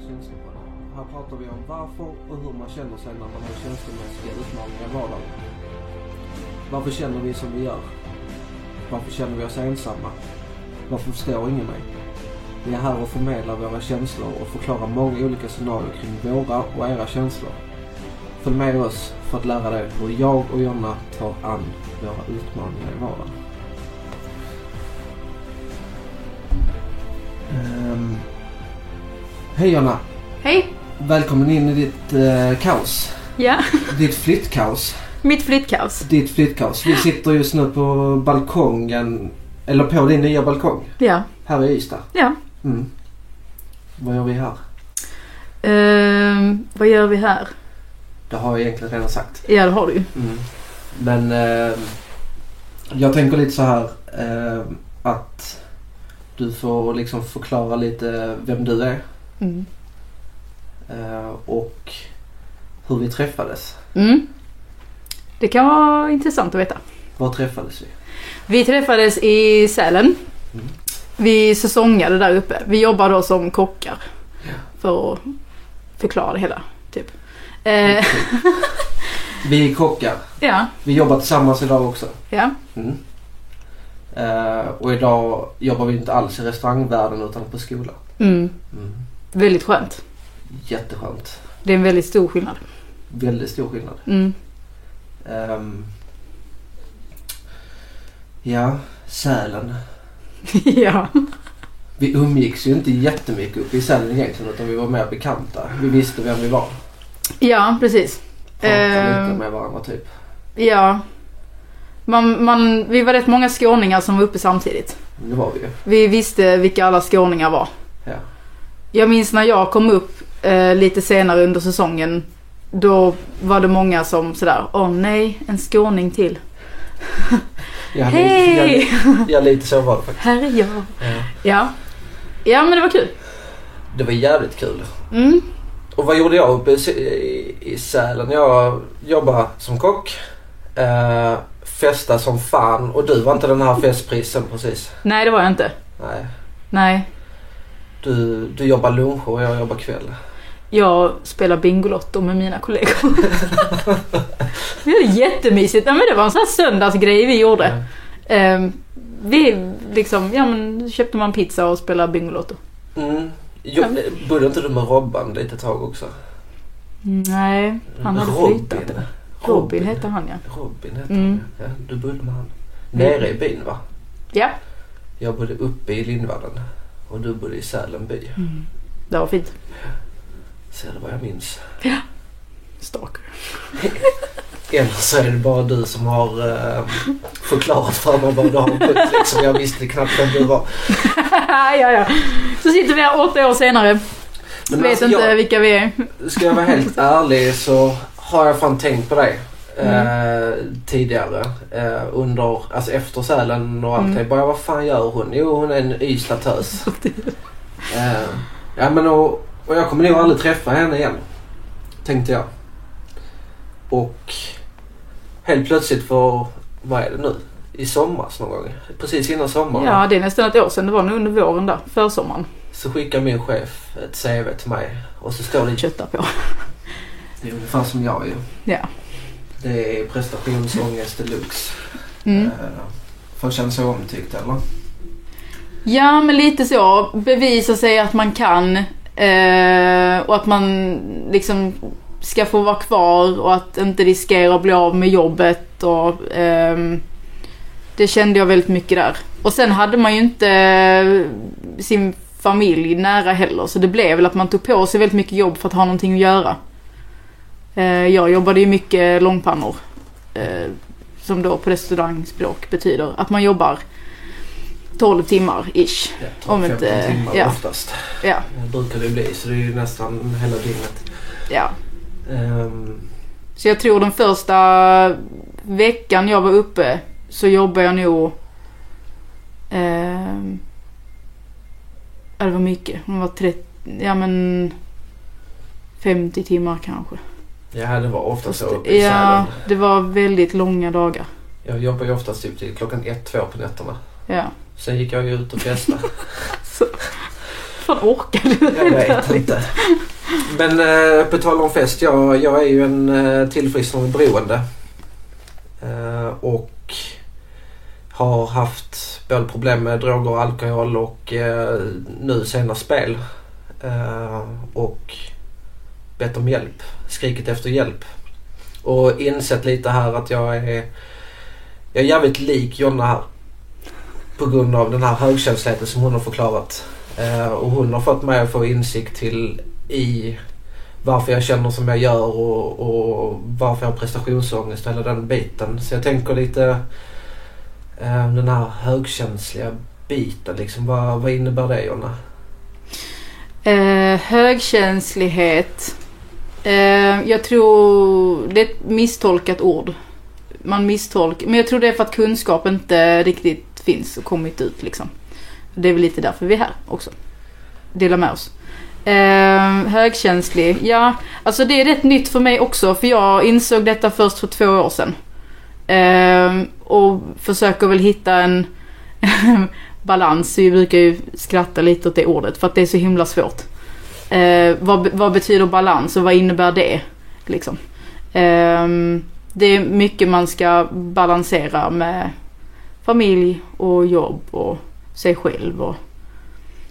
känslor på det. Här pratar vi om varför och hur man känner sig när man har känslomässiga utmaningar i vardagen. Varför känner vi som vi gör? Varför känner vi oss ensamma? Varför förstår ingen mig? Vi är här och förmedlar våra känslor och förklarar många olika scenarier kring våra och era känslor. Följ med oss för att lära dig hur jag och Jonna tar an våra utmaningar i vardagen. Ehm. Hej Jonna! Hej! Välkommen in i ditt eh, kaos. Ja, Ditt flyttkaos. mitt flyttkaos. Ditt flyttkaos. Vi sitter just nu på balkongen, eller på din nya balkong Ja, här i Ystad. ja. Mm. Vad gör vi här? Ehm, vad gör vi här? Det har jag egentligen redan sagt. Ja, det har du ju. Men eh, jag tänker lite så här eh, att du får liksom förklara lite vem du är Mm. eh, och hur vi träffades. Mm. Det kan vara intressant att veta. Var träffades vi? Vi träffades i Sälen. Mm. Vi säsongade där uppe. Vi jobbar då som kockar. För att förklara det hela, typ. Mm. Eh, Vi är kockar. ja, Vi jobbar tillsammans idag också. ja. Mm. Eh, och idag jobbar vi inte alls i restaurangvärlden utan på skola. Mm. Mm. Väldigt skönt. Jätteskönt. Det är en väldigt stor skillnad. Väldigt stor skillnad. Mm. Ehm, ja, Sälen. ja. Vi umgicks ju inte jättemycket uppe i Sälen egentligen utan vi var mer bekanta. Vi visste vem vi var. ja, precis. Pratade Ehm. lite med varandra typ. Ja. Man, man, vi var rätt många skåningar som var uppe samtidigt. Men Det var vi ju. Vi visste vilka alla skåningar var. Ja. Jag minns när jag kom upp eh, lite senare under säsongen. Då var det många som sådär, åh nej, en skåning till. Jag hade Hej! Lite, jag, jag lite så var det faktiskt. Här är jag. Ja. Ja. Ja men det var kul. Det var jävligt kul. Mm. Och vad gjorde jag uppe i, Sä- i, i Sälen? Jag jobbade som kock. Eh, festade som fan och du var inte den här festprisen precis. Nej det var jag inte. Nej. Nej. Du, du jobbar luncher och jag jobbar kväll. Jag spelar Bingolotto med mina kollegor. det var jättemysigt. Nej, men det var en sån här söndagsgrej vi gjorde. Eh, vi liksom, ja men köpte man pizza och spelade Bingolotto. Mm. Jo, Ja. Bodde inte du med Robban lite tag också? Nej, han hade flyttat. Robin, Robin hette han ja. Robin hette Mm. han. Ja, du bodde med han. Nere i byn va? Ja, Jag bodde uppe i Lindvallen och du bodde i Sälen by. det var fint. Ser du vad jag minns? Stalker. Eller så är det bara du som har eh, förklarat för mig vad du har bott. Liksom. Jag visste knappt vem du var. ja, ja. Så sitter vi här åtta år senare. Men Vet alltså, inte jag- vilka vi är. Ska jag vara helt ärlig så har jag fan tänkt på dig Mm. eh, tidigare. Eh, under, alltså efter Sälen och allt Mm. det. Bara vad fan gör hon? Jo hon är en Ystadstös. eh, ja men och, och jag kommer nog aldrig träffa henne igen. Tänkte jag. Och helt plötsligt för, vad är det nu? I somras någon gång. Precis innan sommaren. Ja, det är nästan ett år sedan. Det var nog under våren där, försommaren. Så skickar min chef ett CV till mig. Och så står det... Köttar på. Det är ungefär som jag ju. Ja. Det är prestationsångest deluxe. Mm. Eh, För att känna sig omtyckt eller? Ja, men lite så. Bevisa sig att man kan. Eh, och att man liksom ska få vara kvar och att inte riskera att bli av med jobbet. Och, ehm, det kände jag väldigt mycket där. Och sen hade man ju inte eh, sin familj nära heller. Så det blev väl att man tog på sig väldigt mycket jobb för att ha någonting att göra. Eh, jag jobbade ju mycket långpannor. Eh, som då på restaurangspråk betyder att man jobbar 12 timmar ish. Ja, Om 12-15 inte- timmar ja. oftast. Ja, Det brukar det bli så det är ju nästan hela dygnet. ja. Ehm, Så jag tror den första veckan jag var uppe så jobbade jag nog... ehm, ja, det var mycket. Det var 30, ja men 50 timmar kanske. ja det var oftast så uppe i Ja, Sälen. det var väldigt långa dagar. Jag jobbar ju oftast typ till klockan ett, två på nätterna. Ja. Sen gick jag ju ut och festade. Så. fan orkade du? Jag vet inte. Men eh, på tal om fest, jag, jag är ju en eh, tillfrisknande beroende. Eh, och har haft både problem med droger och alkohol och eh, nu senast spel. Eh, och bett om hjälp, skrikit efter hjälp. Och insett lite här att jag är, jag är jävligt lik Jonna här. På grund av den här högkänsligheten som hon har förklarat. Eh, och hon har fått mig att få insikt till i varför jag känner som jag gör och, och varför jag har prestationsångest och hela den biten. Så jag tänker lite eh, den här högkänsliga biten liksom. Vad, vad innebär det Jonna? Eh, högkänslighet. Eh, jag tror det är ett misstolkat ord. Man misstolkar. Men jag tror det är för att kunskap inte riktigt finns och kommit ut liksom. Det är väl lite därför vi är här också. Dela med oss. Eh, högkänslig. Ja, alltså det är rätt nytt för mig också. För jag insåg detta först för två år sedan. Eh, och försöker väl hitta en balans. Vi brukar ju skratta lite åt det ordet för att det är så himla svårt. Eh, vad, vad betyder balans och vad innebär det? Liksom. Ehm, det är mycket man ska balansera med familj och jobb och sig själv. Och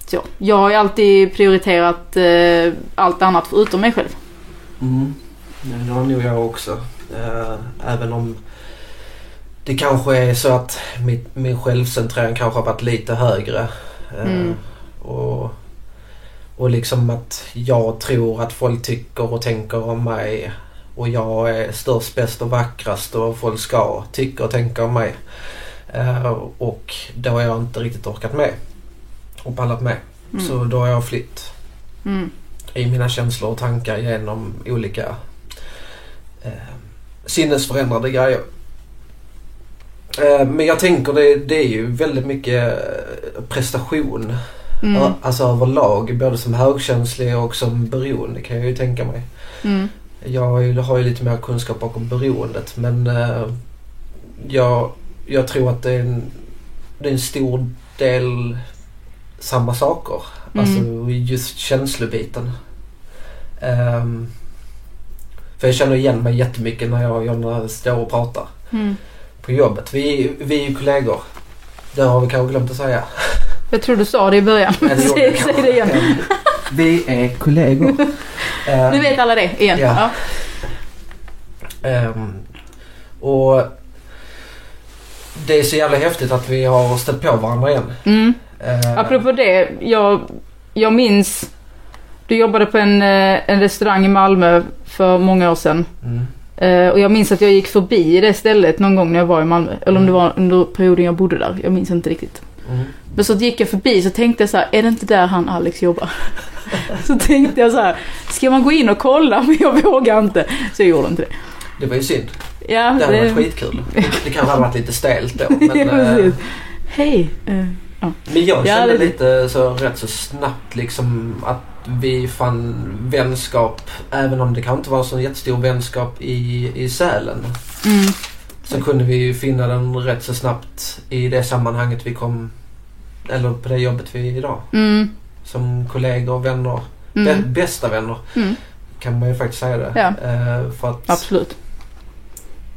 så. Jag har ju alltid prioriterat eh, allt annat förutom mig själv. Mm. Det har nog jag också. Eh, även om det kanske är så att mitt, min självcentrering kanske har varit lite högre. Eh, Mm. och, och liksom att jag tror att folk tycker och tänker om mig. Och jag är störst, bäst och vackrast och folk ska tycka och tänka om mig. Eh, och då har jag inte riktigt orkat med. Och pallat med. Mm. Så då har jag flytt Mm. i mina känslor och tankar genom olika eh, sinnesförändrade grejer. Eh, men jag tänker det, det är ju väldigt mycket eh, prestation. Mm. ö- Alltså överlag både som högkänslig och som beroende kan jag ju tänka mig. Mm. Jag har ju, har ju lite mer kunskap bakom beroendet men eh, jag, jag tror att det är, en, det är en stor del samma saker. Mm. Alltså just känslobiten. Ehm, för jag känner igen mig jättemycket när jag och Jonna står och pratar Mm. på jobbet. Vi, vi är ju kollegor. Det har vi kanske glömt att säga. Jag tror du sa det i början. Eller gjorde jag Säg säg kanske. det igen. Vi är kollegor. Ehm, Nu vet alla det igen. Ja. Ja. Ehm, och det är så jävla häftigt att vi har stött på varandra igen. Mm. Ehm, Apropå det, jag, jag minns du jobbade på en, eh, en restaurang i Malmö för många år sedan. Mm, Eh, Och jag minns att jag gick förbi det stället någon gång när jag var i Malmö. Eller om det var under perioden jag bodde där. Jag minns inte riktigt. mm. Men så gick jag förbi så tänkte jag så här, är det inte där han Alex jobbar? Så tänkte jag så här, ska man gå in och kolla? Men jag vågar inte. Så jag gjorde inte det. Det var ju synd. Ja, Det hade varit det, skitkul. Det- Det kanske hade varit lite stelt då. Ja, Men, eh, precis. Hej. eh, men jag Ja, kände det- lite så rätt så snabbt liksom att vi fann vänskap. Även om det kanske inte var så jättestor vänskap i, i Sälen. Mm. Så kunde vi ju finna den rätt så snabbt i det sammanhanget vi kom. Eller på det jobbet vi är idag. Mm. Som kollegor och vänner. Bä- Mm. Bästa vänner Mm. kan man ju faktiskt säga det. Ja. Eh, för att Absolut.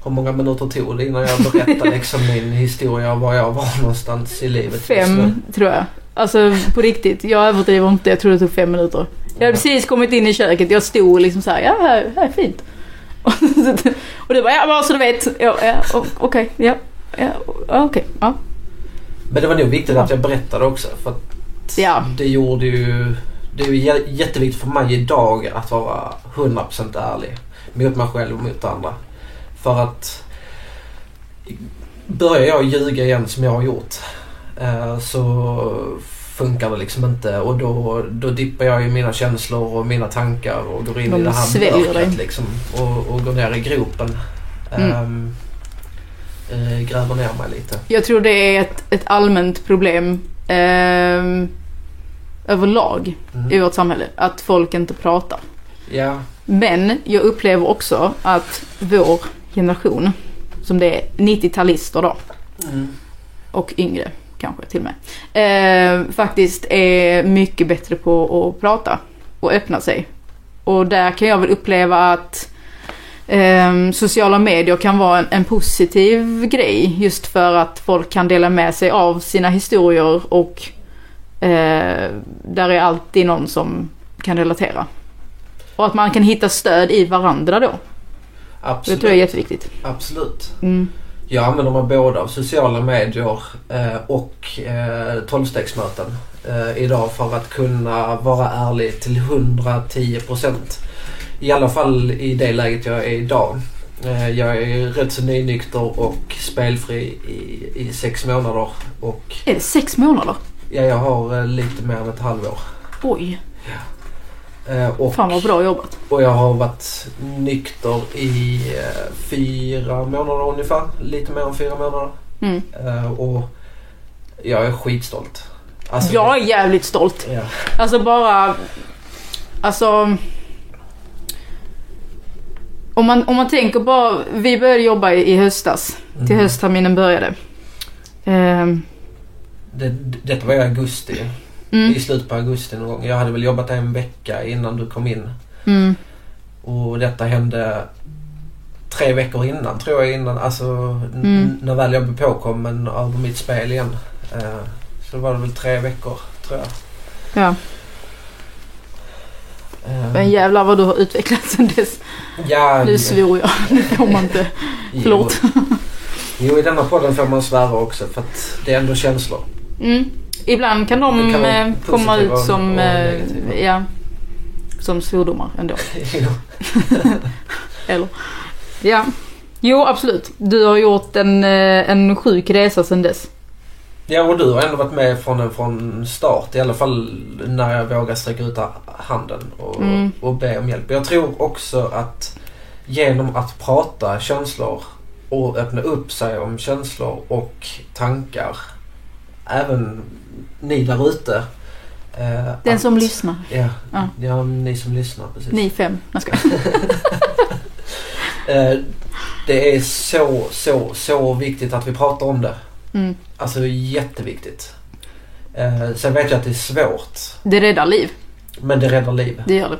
hur många minuter tog det innan jag berättade liksom min historia och var jag var någonstans i livet just nu? Fem, tror jag. Alltså på riktigt, jag överdriver inte. Jag tror det tog fem minuter. Jag hade precis kommit in i köket. Jag stod liksom så här, ja här, här är fint. Och, så- och det var ja bara så du vet. Ja, ja, o- okej, ja. Ja, okej, ja. Men det var nog viktigt att jag berättade också för att Ja. det gjorde ju... Det är ju jä- jätteviktigt för mig idag att vara 100% ärlig mot mig själv och mot andra. För att börjar jag ljuga igen som jag har gjort eh, så funkar det liksom inte och då, då dippar jag i mina känslor och mina tankar och går in De i det här sväljer dig. mörkret liksom och, och går ner i gropen. Mm. Ehm, eh, gräver ner mig lite. Jag tror det är ett, ett allmänt problem ehm, överlag i Mm. vårt samhälle. Att folk inte pratar. Ja. Men jag upplever också att vår generation, som det är 90-talister då Mm. och yngre, kanske till och med, eh, faktiskt är mycket bättre på att prata och öppna sig. Och där kan jag väl uppleva att eh, sociala medier kan vara en, en positiv grej just för att folk kan dela med sig av sina historier och eh, där är alltid någon som kan relatera. Och att man kan hitta stöd i varandra då. Absolut. Det tror jag är jätteviktigt. Absolut. Mm. Jag använder mig både av sociala medier eh, och eh, tolvstegsmöten eh, idag för att kunna vara ärlig till 110%. I alla fall i det läget jag är idag. Eh, jag är rätt så nynykter och spelfri i, i sex månader och Är det sex månader? ja, jag har eh, lite mer än ett halvår. Oj, Eh, och, fan vad bra jobbat. och jag har varit nykter i eh, fyra månader ungefär. Lite mer än fyra månader. Mm. Eh, och jag är skitstolt. Alltså, Jag är jävligt stolt. ja. Alltså bara... Alltså... Om man, om man tänker bara, vi började jobba i, i höstas. Till Mm. höstterminen började. Ehm, Det, det- detta var i augusti. mm, I slutet på augusti någon gång. Jag hade väl jobbat en vecka innan du kom in. mm, Och detta hände tre veckor innan tror jag. Innan, alltså n- Mm. när väl jag blev påkommen av mitt spel igen. Eh, så var det väl tre veckor tror jag. ja. Eh, Men jävlar vad du har utvecklats sen dess. ja, Nu svor jag, nu får man inte. jo. förlåt. Jo, i denna podden får man svära också för att det är ändå känslor. Mm. Ibland kan Det de kan vara eh, positiva komma och- ut som, och eh, negativa. ja, som svordomar ändå. Eller? Ja. Jo, absolut. Du har gjort en, eh, en sjuk resa sedan dess. Ja, och du har ändå varit med från, från start. I alla fall när jag vågar sträcka ut handen och, Mm. och be om hjälp. Jag tror också att genom att prata känslor och öppna upp sig om känslor och tankar. Även ni där ute. eh, Den att- som lyssnar. Ja, Ja. ja, ni som lyssnar. Precis. Ni fem. Jag ska. Eh, det är så, så, så viktigt att vi pratar om det. Mm. Alltså jätteviktigt. Eh, sen vet jag att det är svårt. Det räddar liv. Men det räddar liv. Det gör det.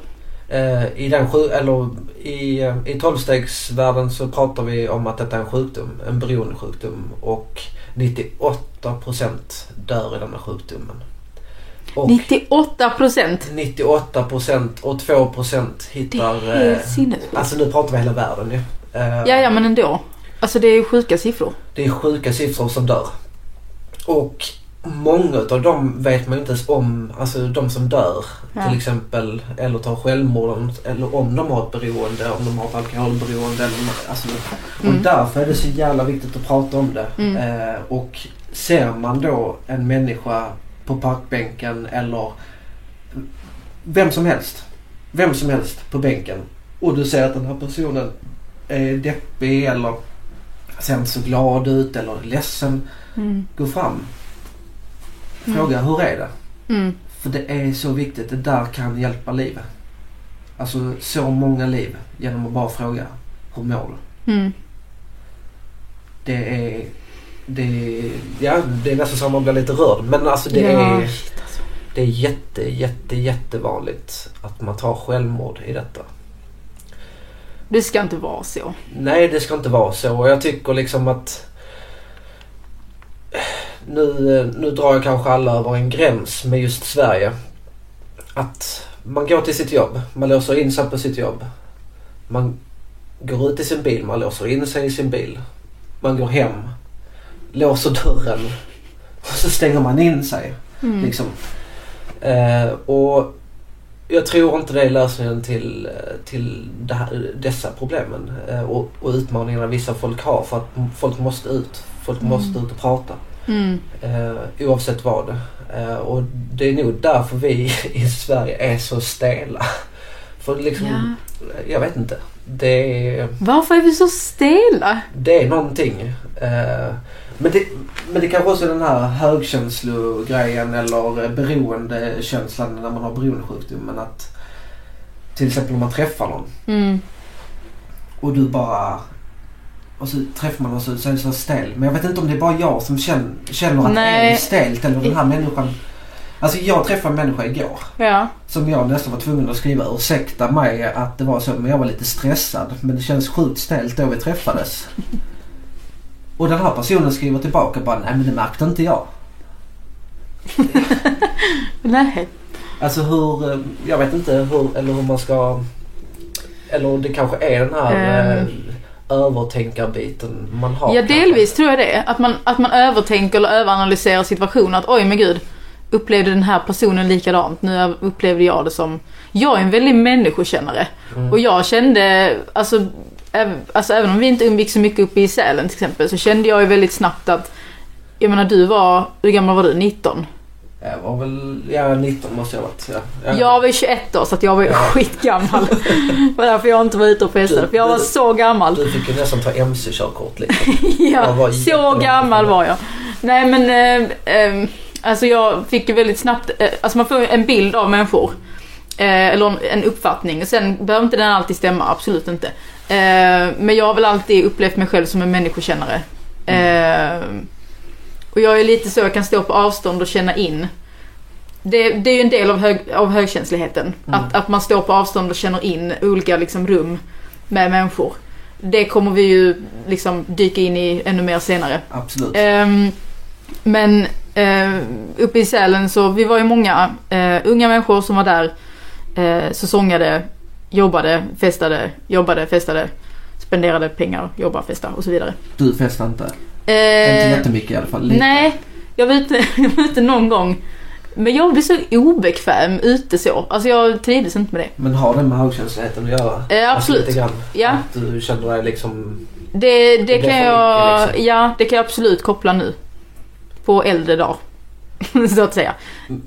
Eh, I den sju, eller i, eh, i tolvstegsvärlden så pratar vi om att detta är en sjukdom, en beroendesjukdom och 98% dör i denna sjukdomen. Och 98 procent. 98% och 2% Det är hittar... eh, helt sinnessjukt. Alltså nu pratar vi hela världen ju. Eh, Ja, ja, men ändå. Alltså det är sjuka siffror. Det är sjuka siffror som dör. Och många av dem vet man inte ens om, alltså de som dör Ja. till exempel eller tar självmord eller om de har ett beroende, om de har ett alkoholberoende. Eller, alltså, Mm. Och därför är det så jävla viktigt att prata om det. Mm. Eh, och ser man då en människa på parkbänken eller vem som helst, vem som helst på bänken och du ser att den här personen är deppig eller ser inte så glad ut eller ledsen. Mm. Gå fram. Fråga hur är det? Mm. För det är så viktigt. Det där kan hjälpa livet. Alltså så många liv genom att bara fråga hur mår du? Mm. Det är... Det är, ja, det är nästan så att man blir lite rörd. Men alltså det ja. är, shit, alltså. det är jätte, jätte, jättevanligt att man tar självmord i detta. Det ska inte vara så. Nej, det ska inte vara så. Och jag tycker liksom att... Nu, eh, nu drar jag kanske alla över en gräns med just Sverige. Att man går till sitt jobb, man låser in sig på sitt jobb. Man går ut i sin bil, man låser in sig i sin bil. Man går hem, låser dörren och så stänger man in sig. Mm. Liksom. Eh, och jag tror inte det är lösningen till, eh, till det här, dessa problemen eh, och, och utmaningarna vissa folk har för att m- folk måste ut. Folk Mm. måste ut och prata Mm. eh, oavsett vad. Eh, och det är nog därför vi i Sverige är så stela. För liksom, Ja. jag vet inte. Det är, Varför är vi så stela? det är någonting. Eh, men, det, men det kanske också är den här högkänslogrejen eller eh, beroendekänslan när man har beroendesjukdomen. Att, till exempel om man träffar någon Mm. och du bara Och så träffar man och så, så är det så stel. Men jag vet inte om det är bara jag som känner, känner att det är Nej. stelt eller den här människan. Alltså jag träffade en människa igår. Ja. Som jag nästan var tvungen att skriva ursäkta mig att det var så men jag var lite stressad. Men det känns sjukt stelt då vi träffades. Och den här personen skriver tillbaka bara nej men det märkte inte jag. Nej. Alltså hur, eh, jag vet inte hur, eller hur man ska, eller det kanske är den här Ehm. eh, övertänkarbiten man har. Ja, kanske. delvis tror jag det. Att man, att man övertänker eller överanalyserar situationer. Att oj men gud, upplevde den här personen likadant? Nu upplevde jag det som... Jag är en väldig människokännare. Mm. Och jag kände, alltså, äv, alltså även om vi inte umgick så mycket uppe i Sälen till exempel, så kände jag ju väldigt snabbt att, jag menar du var, hur gammal var du? 19? Jag var väl, ja 19 måste jag ha varit. Ja. Jag var ju 21 år så att jag var ju Ja. skitgammal. det var därför jag inte var ute och festade, för jag var så gammal. Du fick ju nästan ta mc-körkort liksom. lite. Jag var ja, så jättelång. gammal var jag. Nej men, eh, eh, alltså jag fick ju väldigt snabbt, eh, alltså man får ju en bild av människor. Eh, eller en- en uppfattning. Och sen behöver inte den alltid stämma, absolut inte. Eh, men jag har väl alltid upplevt mig själv som en människokännare. Eh, och jag är lite så, jag kan stå på avstånd och känna in. Det, det är ju en del av, hög, av högkänsligheten. Mm. Att, att man står på avstånd och känner in olika liksom, rum med människor. Det kommer vi ju liksom dyka in i ännu mer senare. Absolut. Ehm, men eh, uppe i Sälen så vi var ju många eh, unga människor som var där. Eh, säsongade, jobbade, festade, jobbade, festade. Spenderade pengar, jobbade, festade och så vidare. Du festade inte. inte Eh, jättemycket i alla fall. Lite. nej, jag var, ute, jag var ute någon gång. Men jag blev så obekväm ute så. Alltså jag trivdes inte med Men har det med högkänslighet? Känsligheten att göra. det. Eh, Alltså, absolut. Lite grann. Ja. Att du känner dig liksom, Det, det, blir kan för jag, mycket, liksom. ja, det kan jag absolut koppla nu. På äldre dag. så att säga.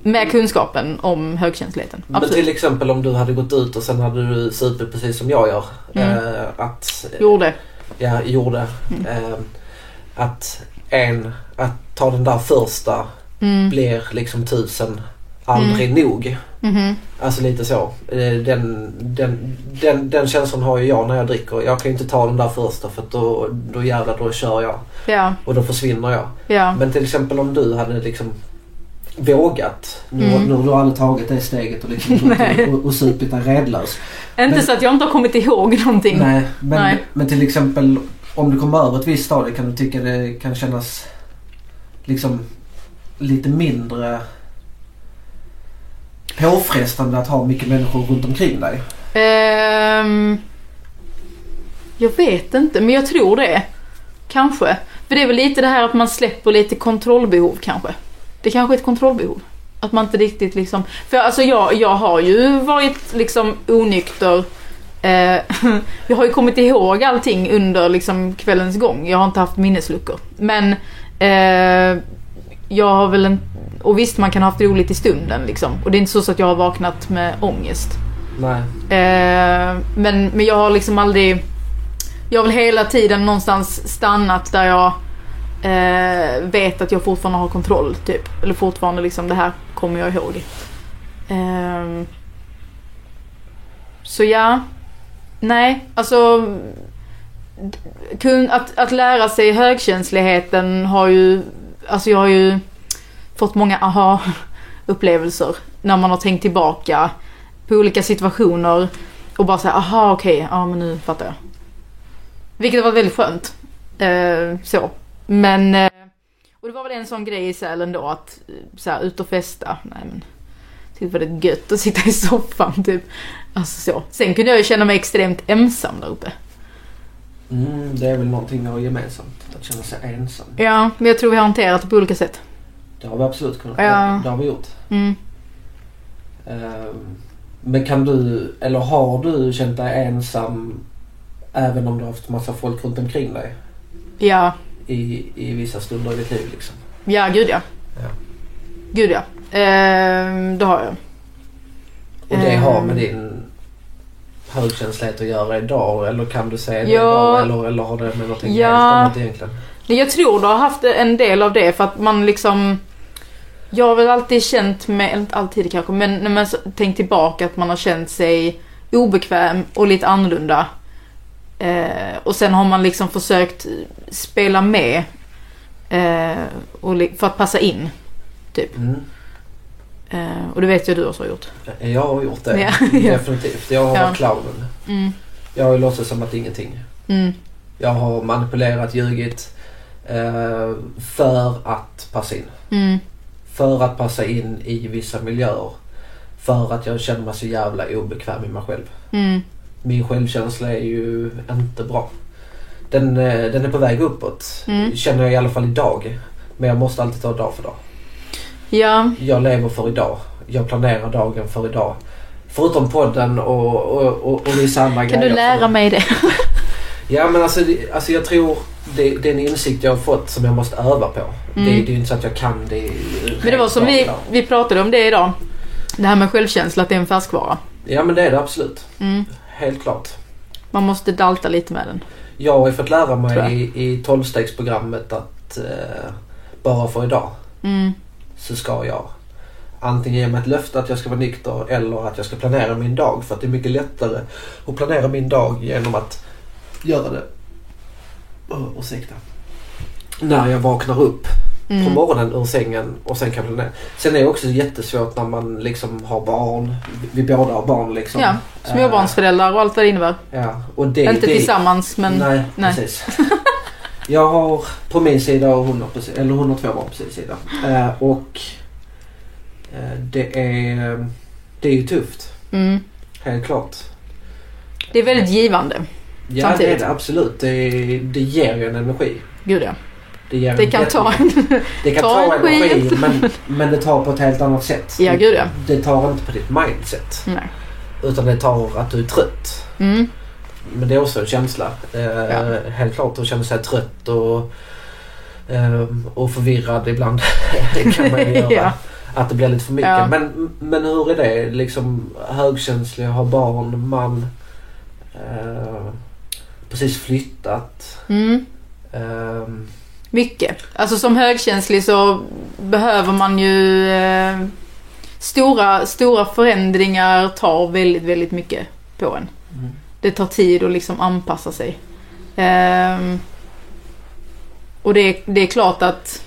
Med kunskapen om högkänsligheten. men Absolut. till exempel om du hade gått ut och sen hade du supit precis som jag gör. Eh, att, eh, Gjorde. jag gjorde. Mm. Eh, att en, att ta den där första Mm. blir liksom tusen aldrig nog. Mhm. Alltså lite så. Eh, Den, den, den, den känslan har ju jag när jag dricker. Jag kan ju inte ta den där första för att då, då jävlar då kör jag. Ja, Och då försvinner jag. ja. Men till exempel om du hade liksom vågat. Nu, Mm. nu har du aldrig tagit det steget och, liksom gått Nej. och, och, och supit dig redlös. Inte men- så att jag inte har kommit ihåg någonting. Nej, men, Nej. men till exempel om du kommer över ett visst stadie kan du tycka det kan kännas liksom lite mindre påfrestande att ha mycket människor runt omkring dig. Ehm, jag vet inte, men jag tror det. Kanske. För det är väl lite det här att man släpper lite kontrollbehov kanske. Det kanske är ett kontrollbehov. Att man inte riktigt liksom... För alltså jag, jag har ju varit liksom onykter. Eh, jag har ju kommit ihåg allting under liksom kvällens gång. Jag har inte haft minnesluckor. Men eh, jag har väl en... Och visst, man kan ha haft roligt i stunden liksom. Och det är inte så att jag har vaknat med ångest. Nej. Eh, men, men jag har liksom aldrig... Jag har väl hela tiden någonstans stannat där jag eh, vet att jag fortfarande har kontroll. typ. Eller fortfarande liksom, det här kommer jag ihåg. Ehm, så ja. Nej, alltså... d- Kun, att, att lära sig högkänsligheten har ju... Alltså jag har ju fått många aha-upplevelser. När man har tänkt tillbaka på olika situationer och bara säga aha okej, ja men nu fattar jag. Vilket var väldigt skönt. Eh, så. Men, eh, och det var väl en sån grej i Sälen då att eh, så här, ut och festa. Nej men, tyckte det var gött att sitta i soffan typ. Alltså så. Sen kunde jag ju känna mig extremt ensam där uppe. Mm, det är väl någonting vi har gemensamt. Att känna sig ensam. Ja, men jag tror vi har hanterat det på olika sätt. Det har vi absolut kunnat. Ja. Det har vi gjort. Mm. Ehm, Men kan du, eller har du känt dig ensam även om du har haft massa folk runt omkring dig Ja, i, i vissa stunder i ditt liv? Liksom? ja gud ja. Ja. Gud ja. Eh, det har jag. Och det Ehm. har med din högkänslighet att göra idag eller kan du säga det Ja. idag eller, eller har det med någonting Ja. helt annat egentligen? Nej, Jag tror du har haft en del av det för att man liksom Jag har väl alltid känt mig, eller inte alltid kanske, men när man så- tänkt tillbaka att man har känt sig obekväm och lite annorlunda. Eh, och sen har man liksom försökt spela med eh, och li- för att passa in. Mm. Eh, Eh, och det vet jag du också har gjort. Jag har gjort det. Ja. Definitivt. Jag har Ja. varit clownen. Mm, Jag har ju låtsats som att ingenting. mm, Jag har manipulerat, ljugit eh, för att passa in. mm, För att passa in i vissa miljöer. För att jag känner mig så jävla obekväm i mig själv. mm, Min självkänsla är ju inte bra. Den, eh, den är på väg uppåt. Mm. Känner jag i alla fall idag. Men jag måste alltid ta dag för dag. ja, Jag lever för idag. Jag planerar dagen för idag. Förutom podden och, och, och, och det är samma kan du lära mig det? Ja men alltså, det- alltså jag tror det, det är en insikt jag har fått som jag måste öva på. Det, det är ju inte så att jag kan det. Mm. Men det var som vi, vi pratade om det idag. Det här med självkänsla, att det är en färskvara. Ja men det är det absolut. Mm. Helt klart. Man måste dalta lite med den. Jag har ju fått lära Tror jag. mig i, i tolvstegsprogrammet att eh, bara för idag Mm, så ska jag antingen ge mig ett löfte att jag ska vara nykter eller att jag ska planera min dag. För att det är mycket lättare att planera min dag genom att göra det. Oh, ursäkta. När jag vaknar upp på mm, morgonen ur sängen och sen kan jag planera. Sen är det också jättesvårt när man liksom har barn. Vi vi båda har barn liksom. ja, småbarnsföräldrar och allt vad det innebär. Eh, ja, och det, det, Inte tillsammans men... nej, nej. precis. Jag har på min sida och hon har, på, si- eller hon har två barn på sin sida. Eh, och eh, det är, det är ju tufft. Mm. Helt klart. Det är väldigt givande. Ja Samtidigt. det är det absolut. Det, det ger ju en energi. Gud ja. Det, ger en Det kan jätte- ta... det kan ta ta, energi. energi men, men det tar på ett helt annat sätt. Ja, gud, ja. Det tar inte på ditt mindset. Nej. Utan det tar att du är trött. Mm. Men det är också en känsla. Eh, Ja. Helt klart att känna sig trött och, eh, och förvirrad ibland. kan man ju göra. Ja. Att det blir lite för mycket. Ja. Men, men hur är det? Liksom högkänslig, har barn, man. Eh, precis flyttat. Mm. Eh, Mycket. Alltså som högkänslig så behöver man ju... Eh, stora, stora förändringar tar väldigt, väldigt mycket på en. Mm. Det tar tid att liksom anpassa sig. Ehm, och det, det är klart att...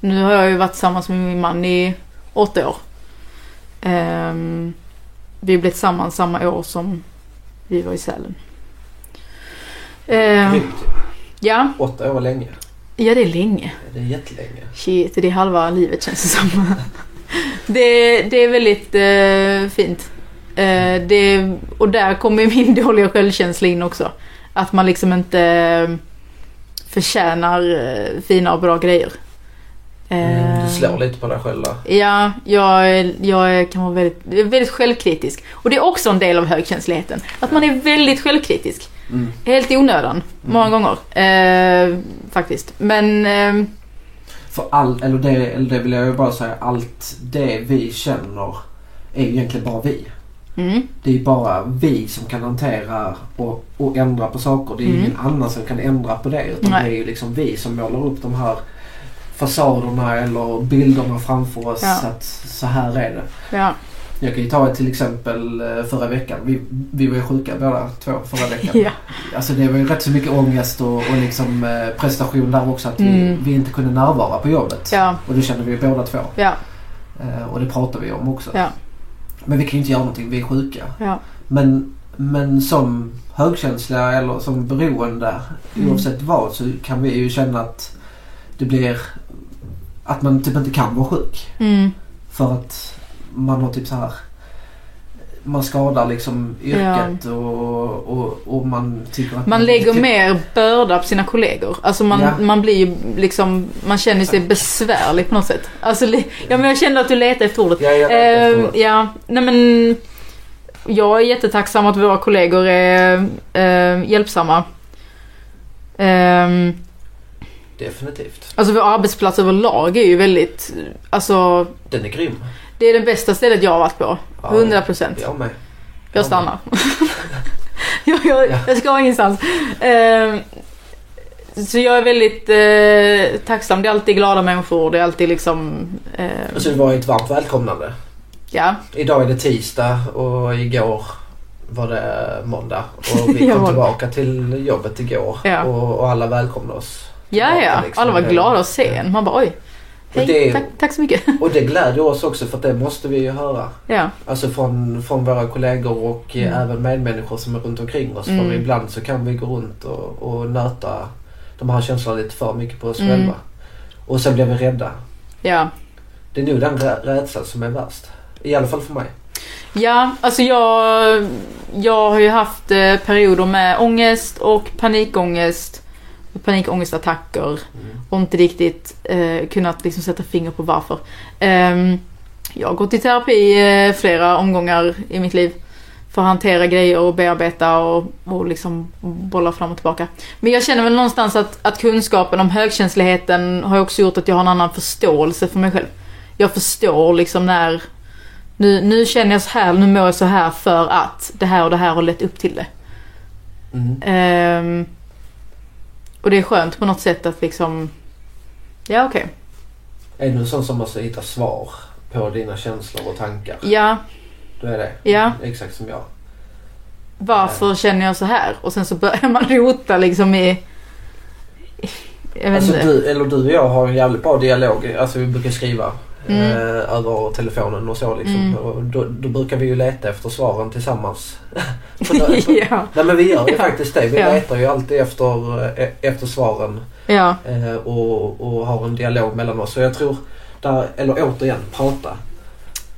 Nu har jag ju varit tillsammans med min man i åtta år. Ehm, vi blev tillsammans samma år som vi var i Sälen. Ehm, drygt ja. Åtta år länge. ja, det är länge. Det är jättelänge. Shit, det är halva livet känns det som. Det, det är väldigt eh, fint. Eh, det, och där kommer ju min dåliga självkänsla in också. Att man liksom inte eh, förtjänar eh, fina och bra grejer. Mm, Eh, du slår lite på dig själv där. Ja, jag, är- jag är- kan vara väldigt, jag är väldigt självkritisk. Och det är också en del av högkänsligheten. Att man är väldigt självkritisk. Mm. Helt i onödan, Mm. många gånger. Eh, faktiskt. Men... Eh, För all, eller det, eller det vill jag ju bara säga, allt det vi känner är ju egentligen bara vi. mm, Det är ju bara vi som kan hantera och, och ändra på saker. Det är ju Mm. ingen annan som kan ändra på det. Utan Nej. det är ju liksom vi som målar upp de här fasaderna eller bilderna framför oss. Ja. Att så här är det. ja. Jag kan ju ta ett till exempel eh, förra veckan. Vi, vi var ju sjuka båda två förra veckan. ja. Alltså det var ju rätt så mycket ångest och, och liksom, eh, prestation där också. Att vi, Mm. vi inte kunde närvara på jobbet. Ja, Och det kände vi ju båda två. ja, Eh, och det pratar vi om också. Ja. Men vi kan ju inte göra någonting, vi är sjuka. ja. Men, men som högkänsliga eller som beroende Mm. oavsett vad så kan vi ju känna att det blir att man typ inte kan vara sjuk. Mm, För att man har typ så här man skadar liksom yrket och, och, och man tycker att man lägger typ, mer börda på sina kollegor. Alltså man, Ja. man blir ju liksom, man känner sig besvärlig på något sätt. Alltså, li- ja men jag kände att du letade efter ordet. Ja, jag vet Eh, efteråt. ja, nej men. Jag är jättetacksam att våra kollegor är eh, hjälpsamma. Ehm, Definitivt. alltså vår arbetsplats överlag är ju väldigt, alltså Den är grym. det är det bästa stället jag har varit på. 100 procent. Jag med. Jag stannar. jag, jag, Ja. jag ska ingenstans. Ehm, så jag är väldigt eh, tacksam. Det är alltid glada människor. Det är alltid liksom... ehm, Och så det var ju ett varmt välkomnande. ja. Idag är det tisdag och igår var det måndag och vi Ja, kom måndag. tillbaka till jobbet igår Ja. och, och alla välkomnade oss. Ja, ja. liksom. Alla var glada att se en. Man bara oj. Hej, det är- tack, tack så mycket. Och det glädjer oss också för att det måste vi ju höra. Ja, Alltså från, från våra kollegor och eh, Mm. även medmänniskor som är runt omkring oss. Mm. För ibland så kan vi gå runt och, och nöta de här känslorna lite för mycket på oss Mm. själva. Och sen blir vi rädda. ja. Det är nog den rä- rädslan som är värst. I alla fall för mig. Ja, alltså jag, jag har ju haft eh, perioder med ångest och panikångest. och Panikångestattacker. Och inte riktigt eh, kunnat liksom sätta finger på varför. Ehm, jag har gått i terapi eh, flera omgångar i mitt liv. För att hantera grejer och bearbeta och, och liksom bolla fram och tillbaka. Men jag känner väl någonstans att, att kunskapen om högkänsligheten har ju också gjort att jag har en annan förståelse för mig själv. Jag förstår liksom när nu, nu känner jag så här, nu mår jag så här för att det här och det här har lett upp till det. Mm. Ehm, och det är skönt på något sätt att liksom... Ja, okej. Är du en sån som måste hitta svar på dina känslor och tankar? Ja, Då är det Ja. exakt som jag. varför känner jag så här? Och sen så börjar man rota liksom i... Jag vet Alltså inte. du, eller du och jag har en jävligt bra dialog. Alltså vi brukar skriva Mm. eh, över telefonen och så liksom. Mm. Och då, då brukar vi ju leta efter svaren tillsammans. På dö- på- ja, Nej men vi gör ju Ja. faktiskt det. Vi Ja. letar ju alltid efter, eh, efter svaren ja, eh, och, och har en dialog mellan oss. Så jag tror, där, eller återigen, prata.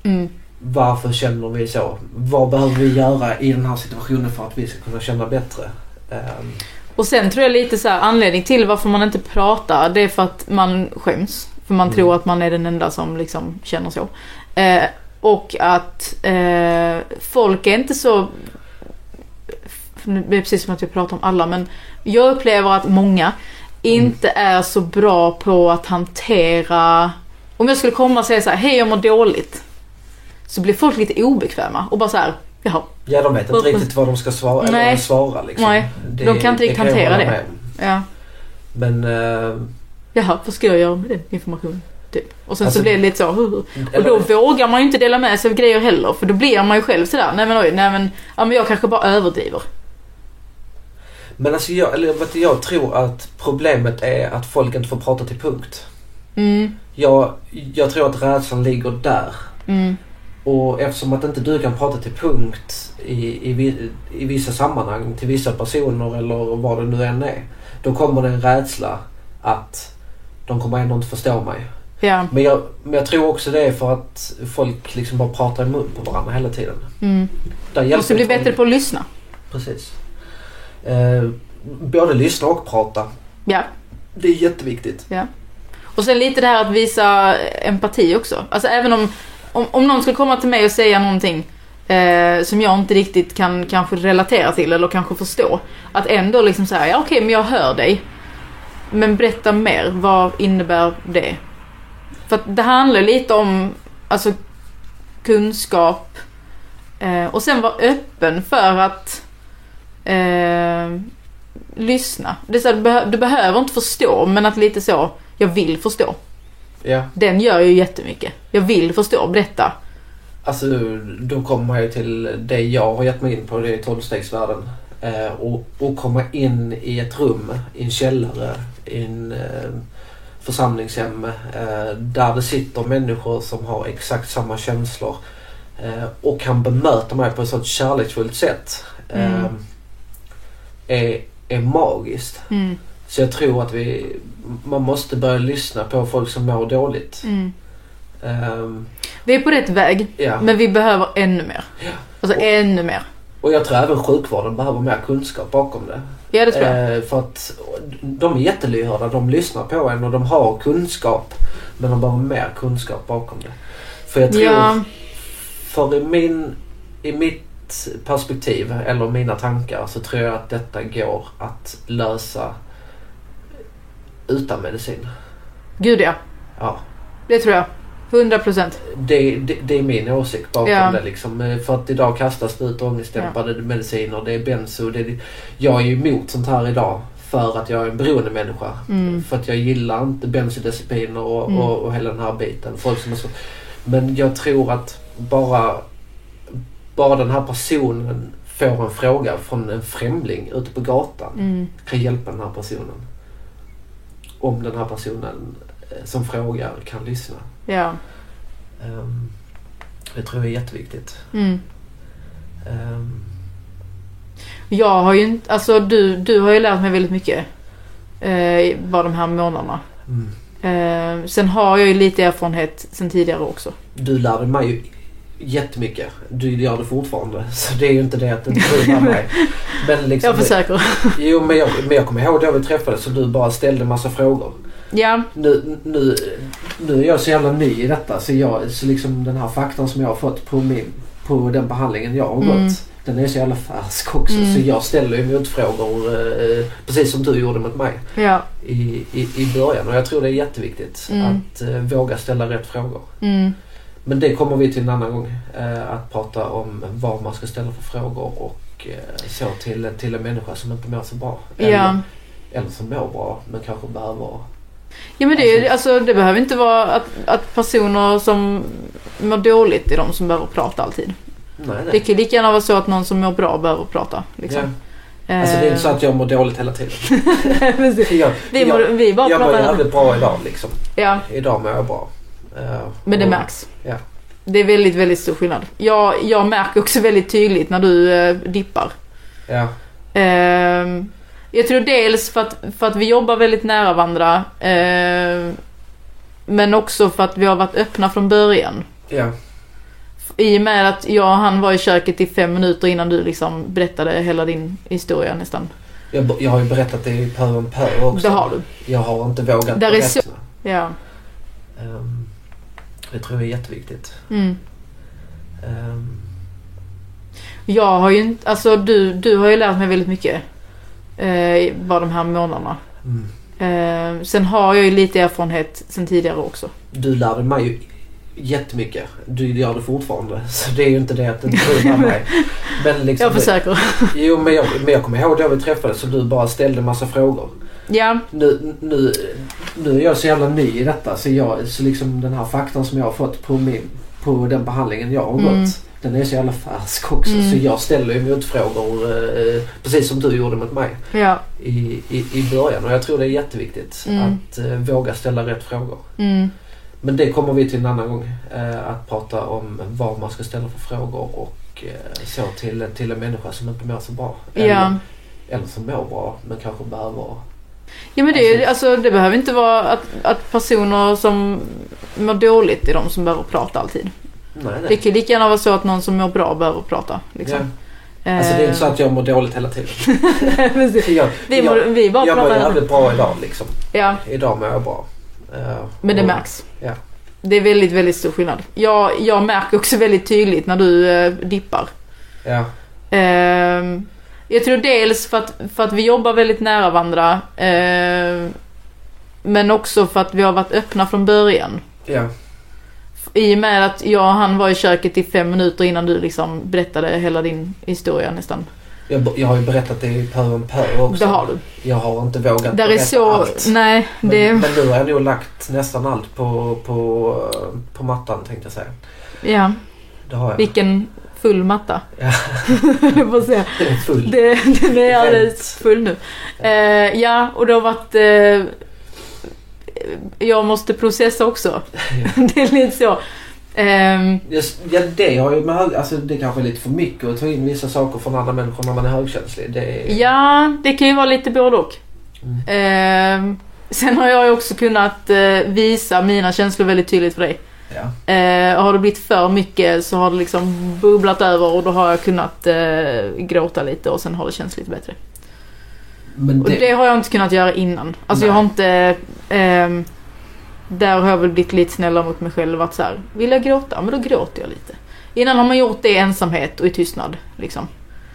mm, Varför känner vi så? Vad behöver vi göra i den här situationen för att vi ska kunna känna bättre? Ehm, Och sen tror jag lite så här, anledning till varför man inte pratar, det är för att man skäms. För man Mm. tror att man är den enda som liksom känner så. Eh, och att eh, folk är inte så... Nu blir det precis som att vi pratar om alla, men jag upplever att många inte är så bra på att hantera... Om jag skulle komma och säga så här, hej jag mår dåligt. Så blir folk lite obekväma och bara så här, jaha, ja de vet inte Varför- riktigt vad de ska svara. Eller Nej. vad de svara liksom. Nej, Det- de kan inte riktigt jag hantera hålla det. med om. ja. Men eh, Jaha, vad ska jag göra med den informationen? Typ. Och sen Alltså- så blir det lite så, "Huh, huh." Och eller- då vågar man ju inte dela med sig av grejer heller, för då blir man ju själv sådär, nej men oj, nej men, ja men jag kanske bara överdriver. Men alltså jag, eller, vet du, jag tror att problemet är att folk inte får prata till punkt. Mm, Jag, jag tror att rädslan ligger där. mm, Och eftersom att inte du kan prata till punkt i, i, vi- i vissa sammanhang till vissa personer eller vad det nu än är. Då kommer det en rädsla att de kommer ändå inte förstå mig. ja, Men jag, men jag tror också det är för att folk liksom bara pratar i mun på varandra hela tiden. mm. Där hjälper Måste bli folk- bättre på att lyssna. Precis. Eh, både lyssna och prata. Ja. Det är jätteviktigt. Och sen lite det här att visa empati också. Alltså även om, om, om någon skulle komma till mig och säga någonting eh, som jag inte riktigt kan kanske relatera till eller kanske förstå. Att ändå liksom säga, ja okej men jag hör dig. Men berätta mer, vad innebär det? För att det handlar lite om alltså, kunskap eh, och sen vara öppen för att eh, lyssna. Det är så här, du, behö- du behöver inte förstå men att lite så, jag vill förstå. Ja. Den gör ju jättemycket. Jag vill förstå, berätta. Alltså då kommer jag ju till det jag har gett mig in på, det är tolvstegsvärlden. Eh, och, och komma in i ett rum, i en källare, i en eh, församlingshem eh, där det sitter människor som har exakt samma känslor eh, och kan bemöta mig på ett sånt kärleksfullt sätt. Eh, Mm. är, är magiskt. Mm, Så jag tror att vi, man måste börja lyssna på folk som mår dåligt. mm. Ehm, Vi är på rätt väg, ja. men vi behöver ännu mer. Alltså Och- ännu mer. Och jag tror även sjukvården behöver mer kunskap bakom det. Ja, det tror jag. Eh, för att de är jättelyhörda, de lyssnar på en och de har kunskap. Men de behöver mer kunskap bakom det. För jag tror, Ja, för i, min, i mitt perspektiv eller mina tankar så tror jag att detta går att lösa utan medicin. gud ja. Ja. Det tror jag. 100 procent. Det, det, det är min åsikt bakom Ja. det liksom. Eh, För att idag kastas det ut ångestdämpande mediciner, det är benzo. Det är, jag är ju emot sånt här idag för att jag är en beroende människa. Mm. För att jag gillar inte benzodiazepiner och, Mm. och, och hela den här biten. Folk som är så. Men jag tror att bara, bara den här personen får en fråga från en främling ute på gatan Mm. kan hjälpa den här personen. Om den här personen eh, som frågar kan lyssna. Ja. Ehm, Det tror jag är jätteviktigt. Mm. Ehm, Jag har ju inte, alltså du, du har ju lärt mig väldigt mycket. Eh, bara de här månaderna. Mm. Eh, sen har jag ju lite erfarenhet sen tidigare också. Du lärde mig ju jättemycket. Du gör det fortfarande. Så det är ju inte det att du inte du lär mig. Men liksom, Jag försöker. Jo men jag, men jag kommer ihåg då vi träffades så du bara ställde massa frågor. Ja, Nu, nu, nu är jag så jävla ny i detta så, jag, så liksom den här faktan som jag har fått på, min, på den behandlingen jag har Mm. gått. Den är så jävla färsk också Mm. så jag ställer ju motfrågor eh, precis som du gjorde mot mig. ja. i, i, i början och jag tror det är jätteviktigt Mm. att eh, våga ställa rätt frågor. Mm. Men det kommer vi till en annan gång. Eh, att prata om vad man ska ställa för frågor och eh, så till, till en människa som inte mår så bra. Ja. Eller, eller som mår bra men kanske behöver... ja, men det, är ju- alltså, det behöver inte vara att, att personer som mår dåligt är de som behöver prata alltid. Nej, Det nej. kan lika gärna vara så att någon som mår bra behöver prata. Liksom. Ja. Alltså det är inte så Eh, att jag mår dåligt hela tiden. precis. Jag, vi, mår, jag, vi bara jag mår pratar. jävligt bra idag liksom. Ja, Idag mår jag bra. Eh, men det och- märks. Ja. Det är väldigt, väldigt stor skillnad. Jag, jag märker också väldigt tydligt när du eh, dippar. Ja. Ehm, jag tror dels för att, för att vi jobbar väldigt nära varandra. ehm, men också för att vi har varit öppna från början. Ja. I och med att jag och han var i köket i fem minuter innan du liksom berättade hela din historia nästan. Jag, jag har ju berättat det i Pö om Pö också. Det har du. Jag har inte vågat Där är berätta. så- Ja. Ehm, det tror jag är jätteviktigt. Mm. Ehm, Jag har ju inte, alltså du, du har ju lärt mig väldigt mycket. Eh, bara de här månaderna. mm. Eh, sen har jag ju lite erfarenhet sen tidigare också. Du lärde mig ju jättemycket. Du gör det fortfarande. Så det är ju inte det att du inte du lär mig. Men liksom, Jag försöker. Jo, men jag, men jag kommer ihåg då vi träffades så du bara ställde massa frågor. Ja, Nu, nu, nu är jag så jävla ny i detta så, jag, så liksom den här faktan som jag har fått på, min, på den behandlingen jag har gått. Mm. Den är så jävla färsk också Mm. så jag ställer ju motfrågor eh, precis som du gjorde mot mig. ja. i, i, i början och jag tror det är jätteviktigt Mm. att eh, våga ställa rätt frågor. Mm. Men det kommer vi till en annan gång. Eh, att prata om vad man ska ställa för frågor och eh, så till, till en människa som inte mår så bra. Eller, Ja. eller som mår bra men kanske behöver... Ja men det, är ju- alltså, det behöver inte vara att, att personer som mår dåligt är de som behöver prata alltid. Nej, Det nej. kan lika gärna vara så att någon som mår bra behöver prata. Liksom. Ja. Alltså det är inte så att jag mår dåligt hela tiden. jag, vi, mår, jag, vi bara jag mår pratar. jävligt bra idag liksom. Ja, Idag mår jag bra. Eh, men det och- märks. Ja. Det är väldigt, väldigt stor skillnad. Jag, jag märker också väldigt tydligt när du eh, dippar. Ja. Ehm, jag tror dels för att, för att vi jobbar väldigt nära varandra. ehm, men också för att vi har varit öppna från början. Ja. I och med att jag och han var i köket i fem minuter innan du liksom berättade hela din historia nästan. Jag, jag har ju berättat det i Pö om Pö också. Det har du. Jag har inte vågat Där är berätta så... allt. Nej, Men, det... men nu har jag nog lagt nästan allt på, på, på mattan tänkte jag säga. ja. Det har jag. Vilken full matta. Ja. Jag får säga. Den är full. Det, den är alldeles full nu. Eh, ja, och det har varit... Eh, jag måste processa också. Det är lite så. Ehm, Just- Ja, det har ju med hög, alltså det kanske är lite för mycket att ta in vissa saker från andra människor när man är högkänslig. Det är, Ja, det kan ju vara lite både och. Mm. Ehm, sen har jag ju också kunnat eh, visa mina känslor väldigt tydligt för dig. ja. Eh, har det blivit för mycket så har det liksom bubblat över och då har jag kunnat eh, gråta lite och sen har det känts lite bättre. Men Och det, det har jag inte kunnat göra innan. Alltså jag har inte... ehm, där har jag väl blivit lite snällare mot mig själv. Att så här, vill jag gråta? Men då gråter jag lite. Innan har man gjort det i ensamhet och i tystnad. Liksom.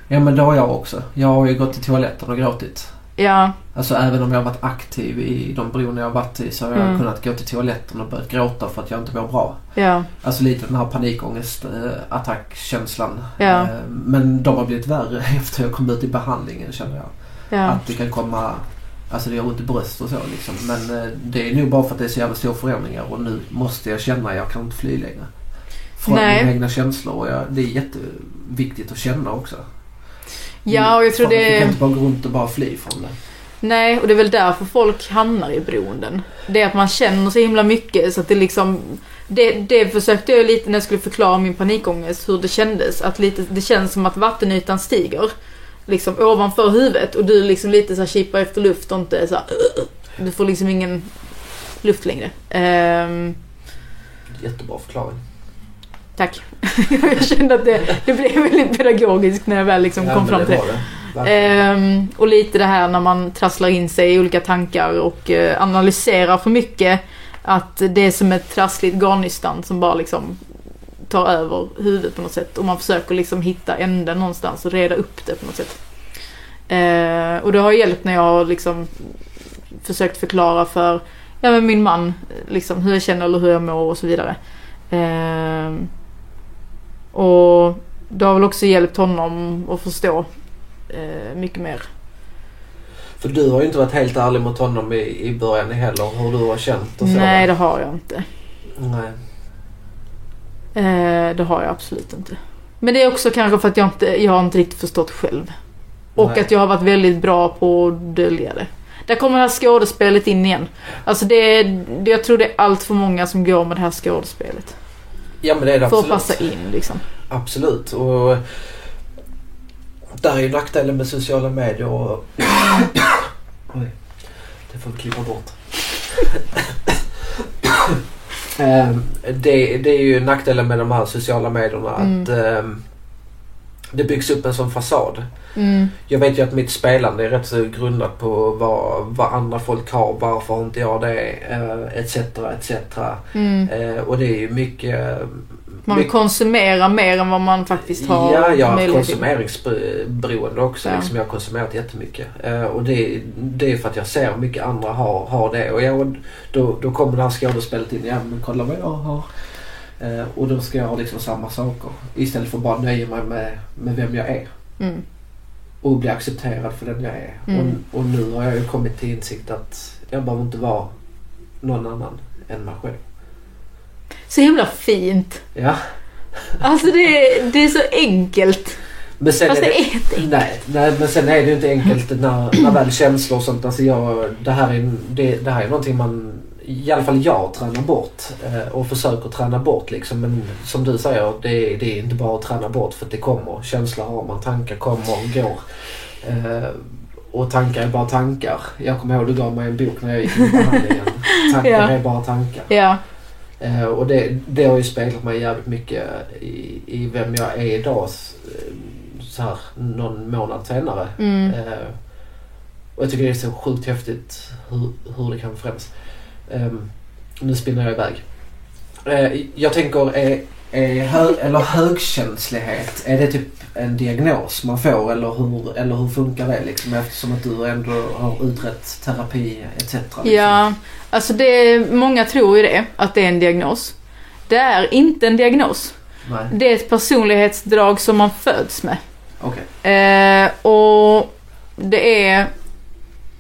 Ja men det har jag också. Jag har ju gått till toaletten och gråtit. Ja, Alltså även om jag har varit aktiv i de beroenden jag har varit i så har jag Mm. kunnat gå till toaletten och börjat gråta för att jag inte mår bra. ja, Alltså lite den här panikångestattackkänslan. Eh, Ja. Men de har blivit värre efter jag kom ut i behandlingen känner jag. Ah, ja. Att det kan komma, alltså det gör ont i bröst och så liksom. Men eh, det är nog bara för att det är så jävla stora förändringar och nu måste jag känna, jag kan inte fly längre. Från Nej. mina egna känslor och jag, det är jätteviktigt att känna också. Mm. Ja, och jag tror Fan, Du kan det... inte bara gå runt och bara fly från det. Nej, och det är väl därför folk hamnar i beroenden. Det är att man känner så himla mycket så att det liksom... Det, det försökte jag lite när jag skulle förklara min panikångest, hur det kändes. Att lite, det känns som att vattenytan stiger. Liksom ovanför huvudet och du liksom lite så här kipar efter luft och inte så här, Du får liksom ingen luft längre. Ehm, Jättebra förklaring. tack. jag kände att det, det blev väldigt pedagogiskt när jag väl liksom Ja, kom men fram det till det. var det. Verkligen. Ehm, och lite det här när man trasslar in sig i olika tankar och eh, analyserar för mycket. Att det är som ett trassligt garnnystan som bara liksom tar över huvudet på något sätt. Och man försöker liksom hitta änden någonstans och reda upp det på något sätt. Eh, och det har hjälpt när jag har liksom försökt förklara för ja, men min man eh, liksom, hur jag känner eller hur jag mår och så vidare. Ehm, och det har väl också hjälpt honom att förstå eh, mycket mer. För du har ju inte varit helt ärlig mot honom i, i början heller hur du har känt och så. Nej, det har jag inte. Nej. Eh, det har jag absolut inte. Men det är också kanske för att jag inte, jag har inte riktigt förstått själv. Och Nej. att jag har varit väldigt bra på att dölja det. Där kommer det här skådespelet in igen. Alltså det, är- det jag tror det är allt för många som går med det här skådespelet. Ja men det är det För absolut. att passa in liksom. Absolut. Och där är ju nackdelen med sociala medier och... Oj, det får vi klippa bort. Ehm, det, det är ju nackdelen med de här sociala medierna Mm. att ehm, det byggs upp en sån fasad. Mm, Jag vet ju att mitt spelande är rätt så grundat på vad, vad andra folk har, varför har inte jag det, eh, etc. etc. mm. Eh, och det är ju mycket... eh, Man mycket- konsumerar mer än vad man faktiskt har Ja, jag har haft möjlighet till. konsumeringsberoende också. Ja. Liksom, jag har konsumerat jättemycket. Eh, och det, det är för att jag ser mycket andra har, har det. Och jag, då, då kommer det här skådespelet in. Ja, men kolla vad jag har. Eh, och då ska jag ha liksom samma saker. Istället för att bara nöja mig med, med vem jag är. Mm, Och bli accepterad för den jag är. Mm. Och, och nu har jag ju kommit till insikt att jag behöver inte vara någon annan än mig själv. Så himla fint. Ja. Alltså det, är- det är så enkelt. Alltså Men sen Fast är det- det är inte enkelt. Nej, nej, men sen är det ju inte enkelt när, när väl känslor och sånt. Alltså jag, det, här är, det, det här är någonting man, i alla fall jag, tränar bort. eh, Och försöker träna bort liksom. Men som du säger, det, det är inte bara att träna bort för att det kommer. Känslor har man, tankar kommer och går. Eh, Och tankar är bara tankar. Jag kommer ihåg du gav mig en bok när jag gick in i behandlingen. Tankar Ja. är bara tankar. Ja. Eh, och det, det har ju speglat mig jävligt mycket i, i vem jag är idag. s- eh, Så här, någon månad senare. Mm. Eh, och jag tycker det är så sjukt häftigt hur, hur det kan förändras. Ehm, nu spinner jag iväg. Eh, jag tänker, är, Är hö- eller högkänslighet, är det typ en diagnos man får eller hur, eller hur funkar det liksom eftersom att du ändå har utrett terapi etc. Liksom. Ja, alltså det, många tror ju det, att det är en diagnos. Det är inte en diagnos. Nej, Det är ett personlighetsdrag som man föds med. okej. Eh, och det är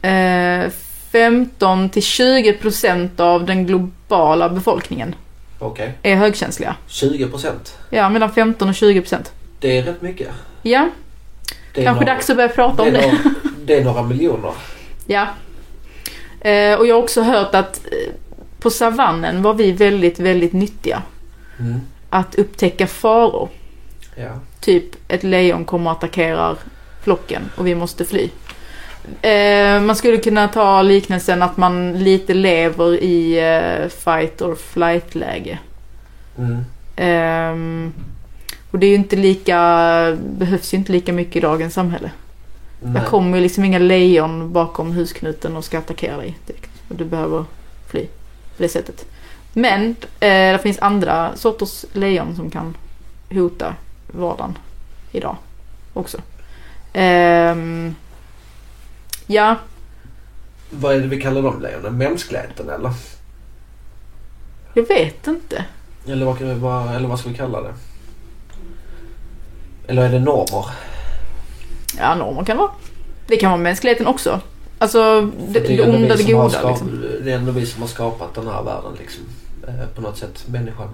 eh, 15 till 20 procent av den globala befolkningen okej, är högkänsliga. 20%. Ja, mellan 15 och 20 procent. Det Det är rätt mycket. Ja, Det är kanske några, dags att börja prata det om är det. några, det är några miljoner. Ja. Eh, och jag har också hört att eh, på savannen var vi väldigt, väldigt nyttiga. Mm. Att upptäcka faror. Ja. Typ ett lejon kommer och attackerar flocken och vi måste fly. Eh, man skulle kunna ta liknelsen att man lite lever i eh, fight or flight läge. Mm. Ehm, och det är ju inte lika, behövs ju inte lika mycket i dagens samhälle. Nej. Det kommer ju liksom inga lejon bakom husknuten och ska attackera dig direkt. Och du behöver fly på det sättet. Men eh, det finns andra sorters lejon som kan hota vardagen idag också. Ehm, ja, Vad är det vi kallar de lejonen? Mänskligheten eller? jag vet inte. Eller vad, kan- vad, eller vad ska vi kalla det? Eller är det normer? Ja, normer kan det vara. Det kan vara mänskligheten också. Alltså det, För är det ändå vi onda, det som har goda. skap- Liksom. Det är ändå vi som har skapat den här världen liksom. Eh, På något sätt, människan.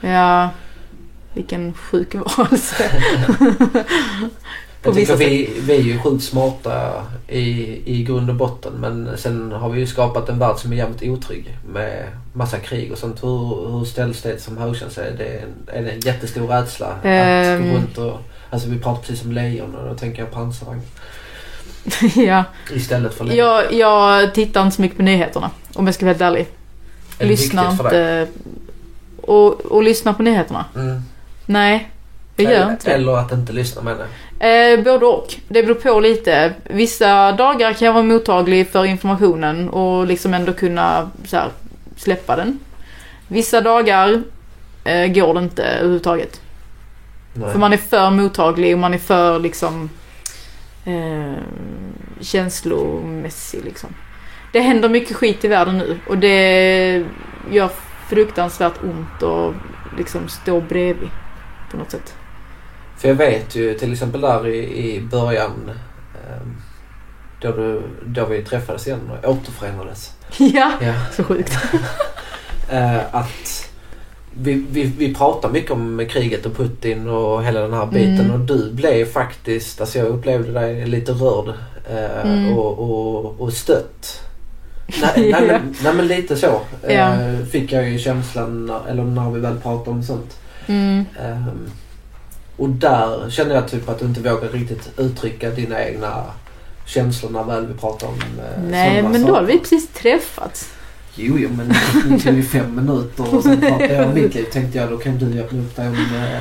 Ja, vilken sjuk varelse. På Jag tycker vissa vi, vi är ju sjukt smarta i, i grund och botten men sen har vi ju skapat en värld som är jävligt otrygg med massa krig och sånt. Hur, hur ställs det som Hoshan säger? Det är, en, är det en jättestor rädsla att Ehm. gå runt och... Alltså vi pratar precis om lejon och då tänker jag pansarvagn ja. istället för lejon. jag, jag tittar inte så mycket på nyheterna om jag ska vara helt ärlig. Är det Lyssnar viktigt för dig? inte. Och, och lyssnar på nyheterna. Mm. Nej, jag gör eller, inte det. Eller att inte lyssna menar jag. Eh, både och. Det beror på lite. Vissa dagar kan jag vara mottaglig för informationen och liksom ändå kunna så här, släppa den. Vissa dagar eh, går det inte överhuvudtaget. Nej. För man är för mottaglig och man är för liksom eh, känslomässig liksom. Det händer mycket skit i världen nu och det gör fruktansvärt ont att liksom stå bredvid på något sätt. För jag vet ju till exempel där i, i början ehm, då, du, då vi träffades igen och återförenades. Ja, Ja. så sjukt. Eh, att vi, vi, vi pratar mycket om kriget och Putin och hela den här biten Mm. och du blev faktiskt, alltså jag upplevde dig lite rörd eh, Mm. och, och, och stött. Nej, nej, men, nej men lite så eh, Ja. fick jag ju känslan när, eller när vi väl pratade om sånt. Mm. Ehm, och där känner jag typ att du inte vågar riktigt uttrycka dina egna känslor när väl vi pratar om eh, Nej, sådana men då saker. har vi precis träffats. Jo, jo, men det tog ju fem minuter och sen pratade jag om mitt liv. Tänkte jag, då kan du öppna upp dig om... eh,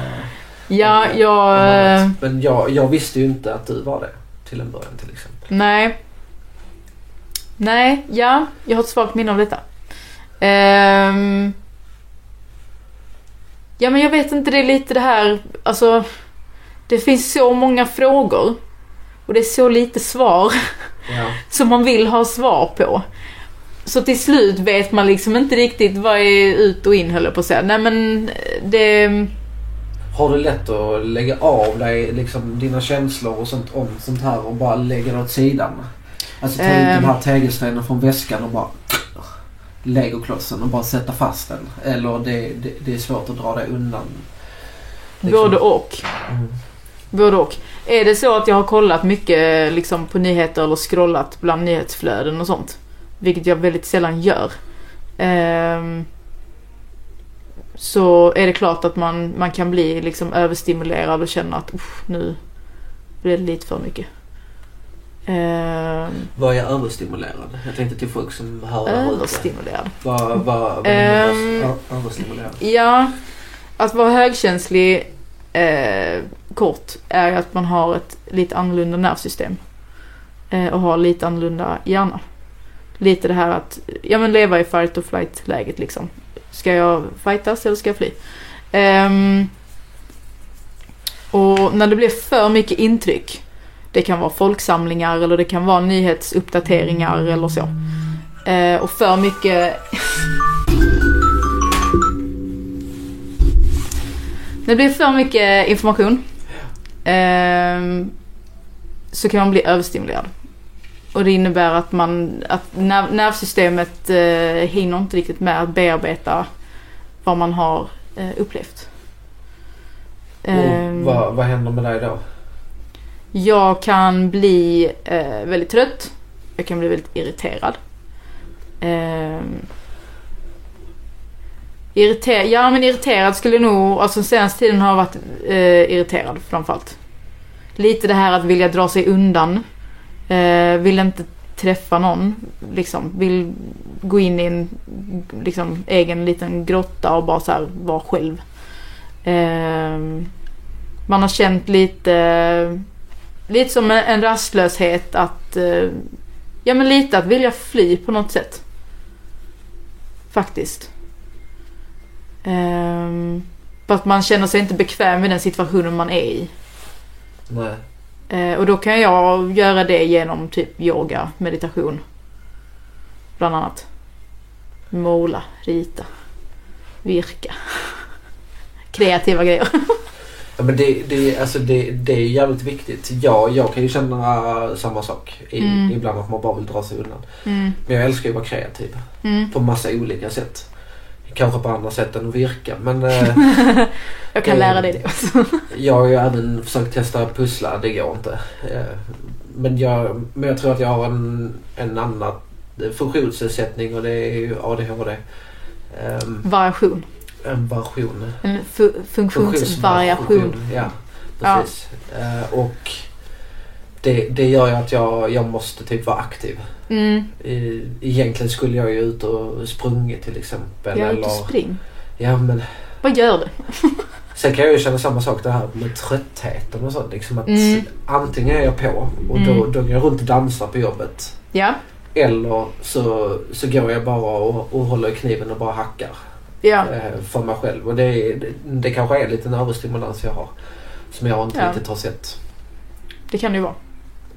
Ja, jag... Om eh, annat. Men jag, jag visste ju inte att du var det till en början till exempel. Nej. Nej, ja. Jag har ett svagt minne av detta. Ehm. Ja, men jag vet inte. Det är lite det här... Alltså, det finns så många frågor. Och det är så lite svar Ja. som man vill ha svar på. Så till slut vet man liksom inte riktigt vad är ut och in, höll jag på att säga. Nej, men eh, det... Har du lätt att lägga av dig liksom, dina känslor och sånt om sånt här och bara lägga det åt sidan? Alltså ta ut den Ehm. här tegelstenen från väskan och bara... Legoklossen och bara sätta fast den. Eller det, det, det är svårt att dra det undan. Liksom. Både och. Mm. Både och. Är det så att jag har kollat mycket liksom, på nyheter eller scrollat bland nyhetsflöden och sånt. Vilket jag väldigt sällan gör. ehm, så är det klart att man, man kan bli liksom, överstimulerad och känna att "Uff, nu blev det lite för mycket. Ehm, Var jag överstimulerad? Jag tänkte till folk som hör det här ute. överstimulerad. Var, var, var Ehm. ö- överstimulerad? Ja, att vara högkänslig eh, kort är att man har ett lite annorlunda nervsystem. Eh, och har lite annorlunda hjärna. Lite det här att ja, men leva i fight or flight läget liksom. Ska jag fightas eller ska jag fly? Ehm, och när det blir för mycket intryck. Det kan vara folksamlingar eller det kan vara nyhetsuppdateringar eller så. Eh, och för mycket När det blir för mycket information ehm, så kan man bli överstimulerad. Och det innebär att, man, att nerv, nervsystemet eh, hinner inte riktigt med att bearbeta vad man har eh, upplevt. Ehm, Och vad, vad händer med dig då? jag kan bli eh, väldigt trött. Jag kan bli väldigt irriterad. Ehm. irriter- ja men irriterad skulle jag nog, alltså senaste tiden har jag varit eh, irriterad framförallt. Lite det här att vilja dra sig undan. Eh, vill inte träffa någon. Liksom. Vill gå in i en liksom, egen liten grotta och bara så här, vara själv. Ehm. Man har känt lite, lite som en- en rastlöshet att, eh, ja men lite att vilja fly på något sätt. Faktiskt. Ehm, För att man känner sig inte bekväm i den situationen man är i. Nej. Eh, Och då kan jag göra det genom typ yoga, meditation. Bland annat. Måla, rita, virka. Kreativa grejer. Ja, men det, det, alltså det, det är jävligt viktigt. Jag, jag kan ju känna samma sak i, Mm. ibland att man bara vill dra sig undan. Mm, Men jag älskar ju att vara kreativ mm, på massa olika sätt. Kanske på andra sätt än att virka. Men eh, Jag kan Eh, lära dig det också. jag har ju även försökt testa att pussla. Det går inte. Eh, men, jag, men jag tror att jag har en, en annan funktionsnedsättning och det är ju ADHD. Ehm, Variation. en version. En Mm. fu- funktionsvariation. Ja, precis. Eh, och det, det gör ju att jag, jag måste typ vara aktiv. Mm. E- Egentligen skulle jag ju ut och sprungit till exempel. Jag är ute eller, och spring. ja, men Vad gör du? sen kan jag ju känna samma sak det här med tröttheten och sånt. Liksom att Mm. Antingen är jag på och då, Mm. då går jag runt och dansar på jobbet. Ja, Eller så, så går jag bara och, och håller i kniven och bara hackar. ja. eh, för mig själv. Och det, är- det, det kanske är lite en överstimulans jag har. Som jag inte Ja. riktigt har sett. det kan det ju vara.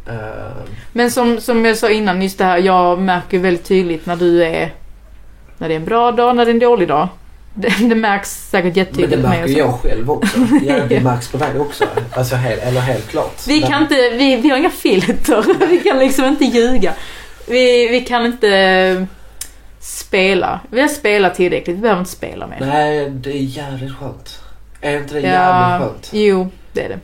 Eh, Men som, som jag sa innan, just det här, jag märker väldigt tydligt när du är... När det är en bra dag, när det är en dålig dag. Det, det märks säkert men jättetydligt det på mig märker också. jag själv också. Ja, det märks på dig också. Alltså, helt, eller helt klart. Vi kan inte, vi, vi har inga filter. Vi kan liksom inte ljuga. Vi, vi kan inte eh, spela. Vi har spelat tillräckligt, vi behöver inte spela mer. Nej, det är jävligt skönt. Är inte det Ja. jävligt skönt? Jo, det är det.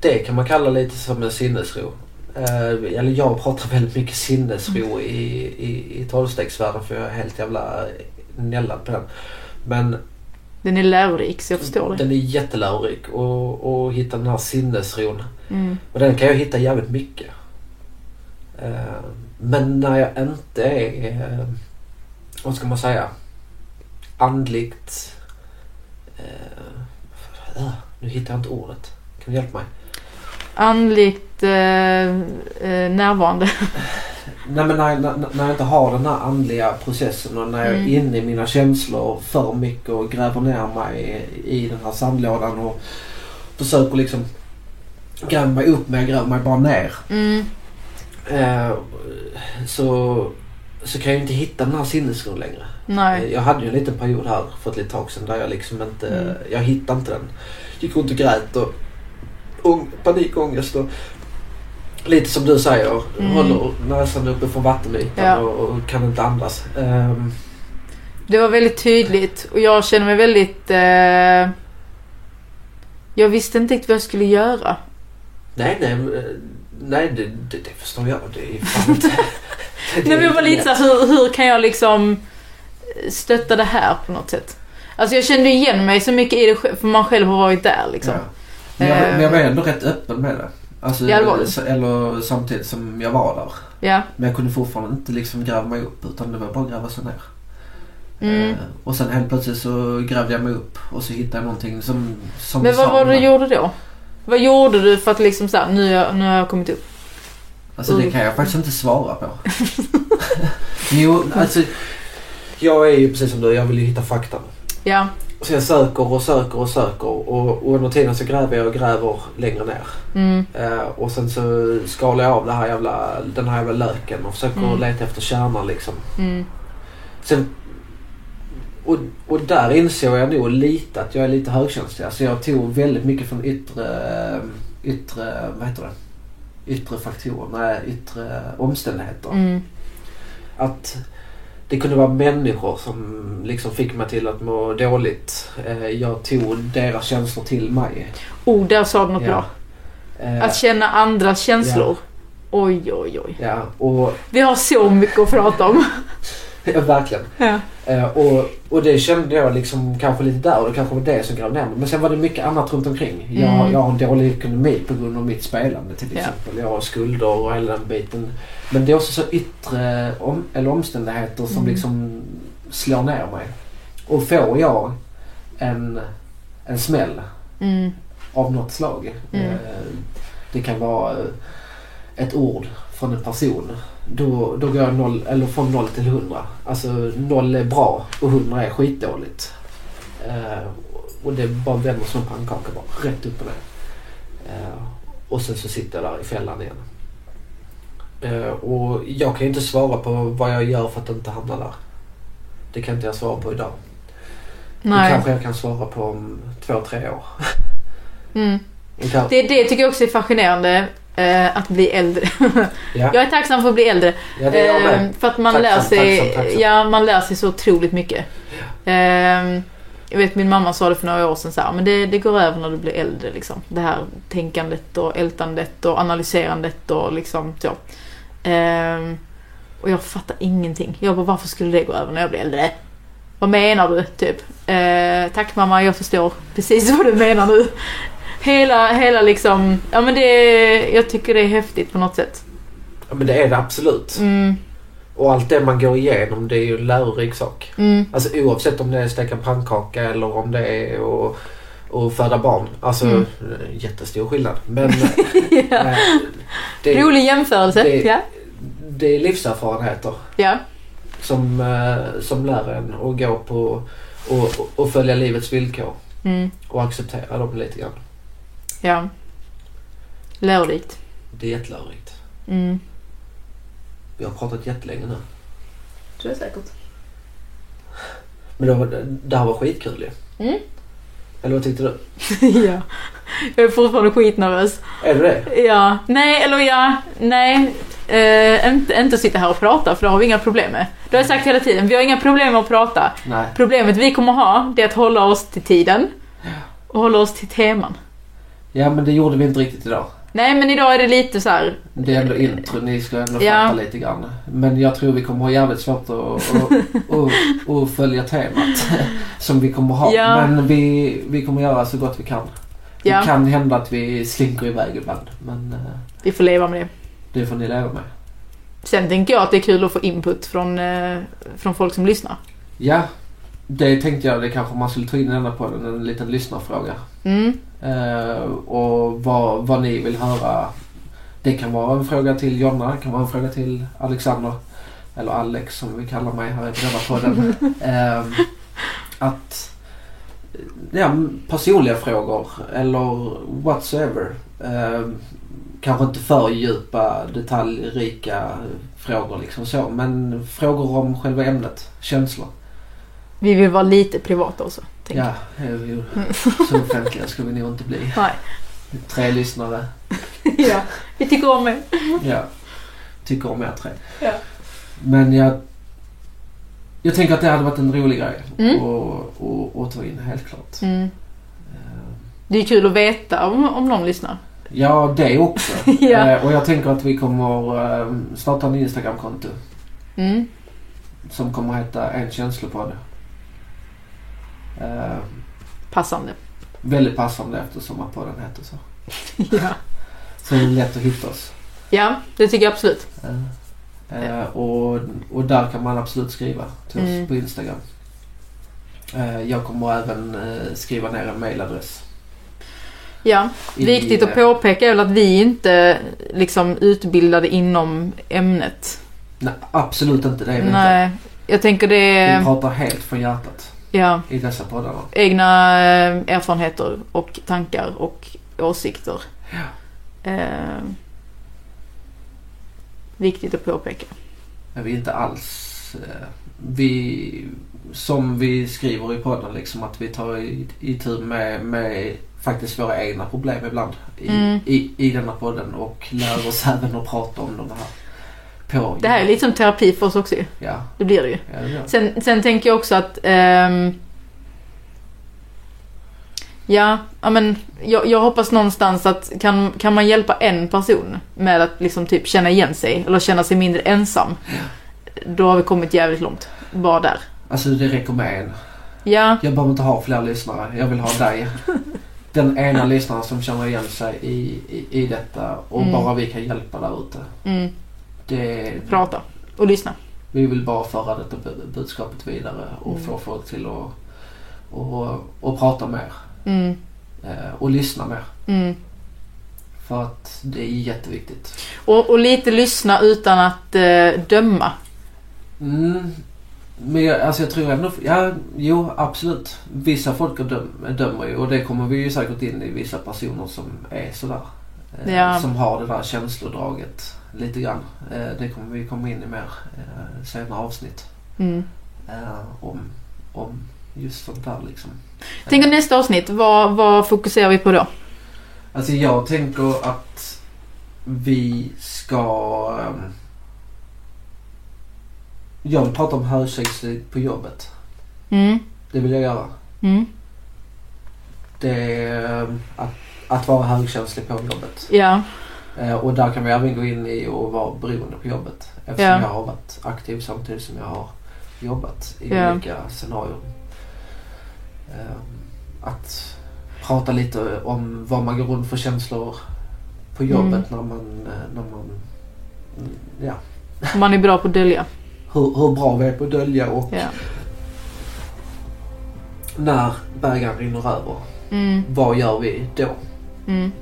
Det kan man kalla lite som en sinnesro. Eh, eller jag pratar väldigt mycket Mm. sinnesro i, i, i tolvstegsvärlden för jag är helt jävla nällad på den. Men Den är lärorik, så jag förstår det. den är jättelärorik och, och hitta den här sinnesron. Mm. Och den kan jag hitta jävligt mycket. Eh, Men när jag inte är, eh, vad ska man säga, andligt... eh, eh, Nu hittar jag inte ordet. Kan du hjälpa mig? Andligt eh, eh, närvarande. Nej men när, när, när jag inte har den här andliga processen och när jag Mm. är inne i mina känslor för mycket och gräver ner mig i, i den här sandlådan och försöker liksom gräva mig upp men jag gräver mig bara ner. Mm. Eh, så, så kan jag ju inte hitta den här sinnesron längre. Eh, Nej. Jag hade ju en liten period här för ett litet tag sedan där jag liksom inte, Mm. jag hittade inte den. Gick runt och grät och, och panikångest och lite som du säger, Mm. håller näsan uppe från vattenytan Ja. och, och kan inte andas. Ehm, Det var väldigt tydligt och jag känner mig väldigt... Eh, jag visste inte riktigt vad jag skulle göra. nej, nej, eh, nej det, det, det förstår jag. Det är fan inte... det är Nej, men jag var inte lite såhär, hur, hur kan jag liksom stötta det här på något sätt? Alltså jag kände igen mig så mycket i det själv, för man själv har varit där liksom. Ja. Men, jag, Eh. men jag var ändå rätt öppen med det. Alltså, Ja, det var du. s- Eller samtidigt som jag var där. Ja. Men jag kunde fortfarande inte liksom gräva mig upp utan det var bara att gräva sig ner. Mm. Eh, och sen helt plötsligt så grävde jag mig upp och så hittade jag någonting som, som Men vi vad sa var det du innan. gjorde då? Vad gjorde du för att liksom såhär, nu, har jag- nu har jag kommit upp? Alltså Mm. det kan jag faktiskt inte svara på. jo, alltså. Jag är ju precis som du, jag vill ju hitta fakta. Ja. Så jag söker och söker och söker och, och under tiden så gräver jag och gräver längre ner. Mm. Eh, och sen så skalar jag av det här jävla, den här jävla löken och försöker Mm. leta efter kärnan liksom. Mm. Sen, och, och där insåg jag nog lite att jag är lite högkänslig. Alltså jag tog väldigt mycket från yttre, eh, yttre vad heter det? Yttre faktorer, nej, yttre omständigheter. Mm. Att det kunde vara människor som liksom fick mig till att må dåligt. Eh, Jag tog deras känslor till mig. Oh, där sa du något Ja. bra. Eh, Att känna andras känslor. Oj, oj, oj. Ja, och Vi har så mycket att prata om. ja, verkligen. Ja. Eh, Och, och det kände jag liksom kanske lite där och det kanske var det som grävde ner mig. Men sen var det mycket annat runt omkring. Jag, Mm. jag har en dålig ekonomi på grund av mitt spelande till Ja. exempel. Jag har skulder och hela den biten. Men det är också så yttre om, eller omständigheter som Mm. liksom slår ner mig. Och får jag en, en smäll Mm. av något slag. Mm. Eh, Det kan vara eh, ett ord från en person. Då, då går jag noll, eller från 0 till 100. Alltså 0 är bra och 100 är skitdåligt. Eh, Och det bara vänder som en pannkaka bara rätt upp och ner. Eh, Och sen så sitter jag där i fällan igen. Eh, Och jag kan ju inte svara på vad jag gör för att inte hamna där. Det kan inte jag svara på idag. Det Nej. kanske jag kan svara på om två, tre år. Mm. Det kan- Det, det tycker jag också är fascinerande. eh, att bli äldre. Ja, jag är tacksam för att bli äldre. ja det är jag Eh, med. För att man Tacksam, lär sig, tacksam, tacksam. Ja, man lär sig så otroligt mycket. Eh, jag vet min mamma sa det för några år sedan så här, men det, det går över när du blir äldre liksom. Det här tänkandet och ältandet och analyserandet och liksom så. Eh, och jag fattar ingenting. Jag bara, varför skulle det gå över när jag blir äldre? Vad menar du? Typ. Eh, tack mamma, jag förstår precis vad du menar nu. Hela, hela liksom, ja men det, jag tycker det är häftigt på något sätt. Ja, men det är det absolut. Mm, Och allt det man går igenom det är ju en lärorik sak. mm, Alltså oavsett om det är att steka pannkaka eller om det är att, att föda barn. Alltså Mm. eh, jättestor skillnad. Men ja. eh, det, är- Rolig jämförelse. det- Ja. det är livserfarenheter ja. som, eh, som lär en att gå på och, och, och följa livets villkor Mm. och acceptera dem lite grann. ja. Lärorikt. Det är jättelärorikt. Mm. Vi har pratat jättelänge nu. Tror jag säkert. Men det, var, det här var skitkul ju. Mm. Eller vad tyckte du? ja. Jag är fortfarande skitnervös. Är du det? Ja. Nej, eller ja. Nej. Eh, inte, inte sitta här och prata för det har vi inga problem med. Det har jag sagt hela tiden. Vi har inga problem med att prata. Nej. Problemet vi kommer ha det är att hålla oss till tiden. Och hålla oss till teman. Ja men det gjorde vi inte riktigt idag. Nej men idag är det lite så här. Det är ändå intro, ni skulle ändå Ja. fatta lite grann. Men jag tror vi kommer ha jävligt svårt att, att, att, att följa temat som vi kommer ha. Ja. Men vi, vi kommer göra så gott vi kan. Det Ja, kan hända att vi slinker iväg ibland men eh, vi får leva med det. det får ni leva med. Sen tänker jag att det är kul att få input från, eh, från folk som lyssnar. Ja, det tänkte jag det kanske man skulle ta in i denna podden, en liten lyssnarfråga. Mm. Eh, och vad, vad ni vill höra. Det kan vara en fråga till Jonna, det kan vara en fråga till Alexander. Eller Alex som vi kallar mig här i denna podden. Eh, att ja, personliga frågor eller whatsoever. Eh, kanske inte för djupa detaljrika frågor liksom så. Men frågor om själva ämnet, känslor. Vi vill vara lite privata också. tänker Ja, eh, så offentliga ska vi nog inte bli. jag. Nej. Tre lyssnare. ja, vi tycker om er. Ja. Tycker om er tre. Ja. Men jag... Jag tänker att det hade varit en rolig grej Mm. att, att, att ta in, helt klart. Mm. Eh, Det är kul att veta om, om någon lyssnar. Ja, det också. Ja. Eh, Och jag tänker att vi kommer eh, starta en Instagram-konto Mm. som kommer heta En känslopodd. Eh, Passande. Väldigt passande eftersom att podden heter så. Ja. Så det är lätt att hitta oss. ja, det tycker jag absolut. Eh, eh, och, och där kan man absolut skriva till oss Mm. på Instagram. Eh, jag kommer även eh, skriva ner en mailadress. Ja. i- Viktigt att påpeka är väl att vi inte liksom utbildade inom ämnet. Nej, absolut inte. Det är vi inte. Nej, jag tänker det Vi är pratar helt från hjärtat ja, i dessa poddarna. egna eh, erfarenheter och tankar och åsikter. Eh, viktigt att påpeka. Men Vi är inte alls... Eh, vi, som vi skriver i podden liksom att vi tar i, i tur med, med faktiskt våra egna problem ibland i, Mm. i, i denna podden och lär oss även att prata om de här. På, Det här är lite som terapi för oss också ju. Ja, Det blir det ju. ja, det gör vi. Sen, sen tänker jag också att... ehm, ja, ja, men jag, jag hoppas någonstans att kan, kan man hjälpa en person med att liksom typ känna igen sig eller känna sig mindre ensam. Då har vi kommit jävligt långt. Bara där. Alltså det räcker med en. Ja, Jag behöver inte ha fler lyssnare. Jag vill ha dig. Den ena lyssnaren som känner igen sig i, i, i detta och Mm. bara vi kan hjälpa där ute. mm, Det- prata och lyssna. Vi vill bara föra detta bu- budskapet vidare och Mm. få folk till att och, och prata mer Mm, eh, och lyssna mer. mm. För att det är jätteviktigt. Och, och lite lyssna utan att eh, döma. Mm. Men jag, alltså jag tror ändå, ja, jo absolut. Vissa folk är döm, dömer ju och det kommer vi ju säkert in i vissa personer som är sådär. Eh, Ja. Som har det där känslodraget lite grann. Eh, det kommer vi komma in i mer eh, senare avsnitt. Mm. Eh, om, om just sånt där liksom. Tänk om nästa avsnitt, vad, vad fokuserar vi på då? Alltså jag tänker att vi ska... ehm, Jag vill prata om högkänslighet på jobbet. Mm. Det vill jag göra. Mm. Det är ehm, att, att vara högkänslig på jobbet. Ja. Eh, Och där kan vi även gå in i och vara beroende på jobbet. Eftersom Ja. jag har varit aktiv samtidigt som jag har jobbat i Ja. olika scenarion. Eh, Att prata lite om vad man går runt för känslor på Mm. jobbet när man... eh, När man mm, ja. Man är bra på att dölja. hur, hur bra vi är på att dölja och Ja. när bägaren rinner över. Mm. Vad gör vi då? Mm.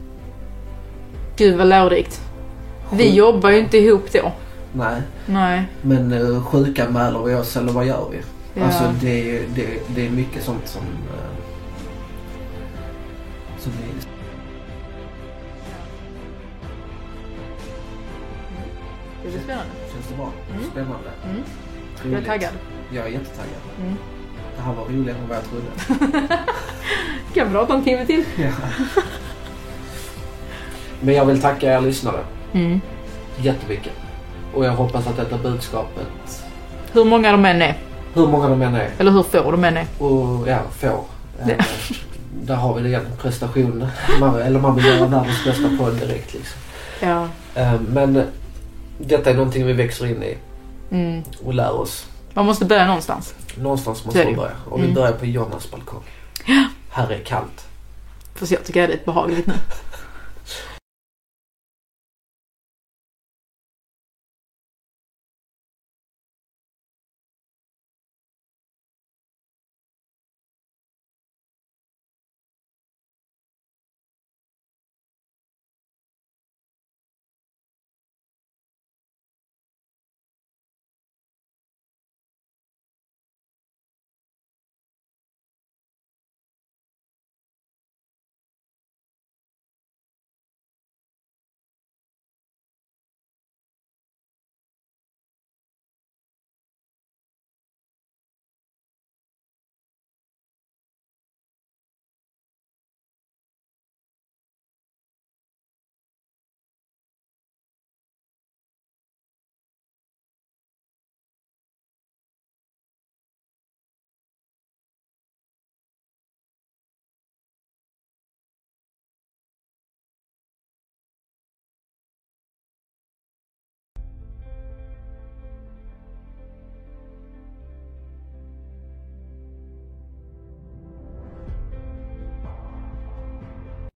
Gud vad lärorikt. Vi jobbar ju inte ihop då. Nej, Nej. men eh, sjukanmäler vi oss eller vad gör vi? Ja. Alltså det, det, det är mycket sånt som... eh, som är... det blir spännande. Känns det bra? Mm. Spännande? Mm. Jag är Roligt. taggad. Jag är jättetaggad. Mm. Det här var roligare än vad jag trodde. Kan vi prata en timme till? Men jag vill tacka er lyssnare Mm. jättemycket. Och jag hoppas att detta budskapet, Hur många de än är. hur många de än är, Eller hur få de än är. och ja, får. eh, Där har vi det igen, prestationen. Man, eller man vill göra världens bästa podd direkt liksom. Ja. Eh, Men detta är någonting vi växer in i Mm. och lär oss. Man måste börja någonstans. Någonstans Så måste är det vi ju. börja. Och vi Mm. börjar på Jonas balkong. Här är kallt. Fast jag tycker det är behagligt nu.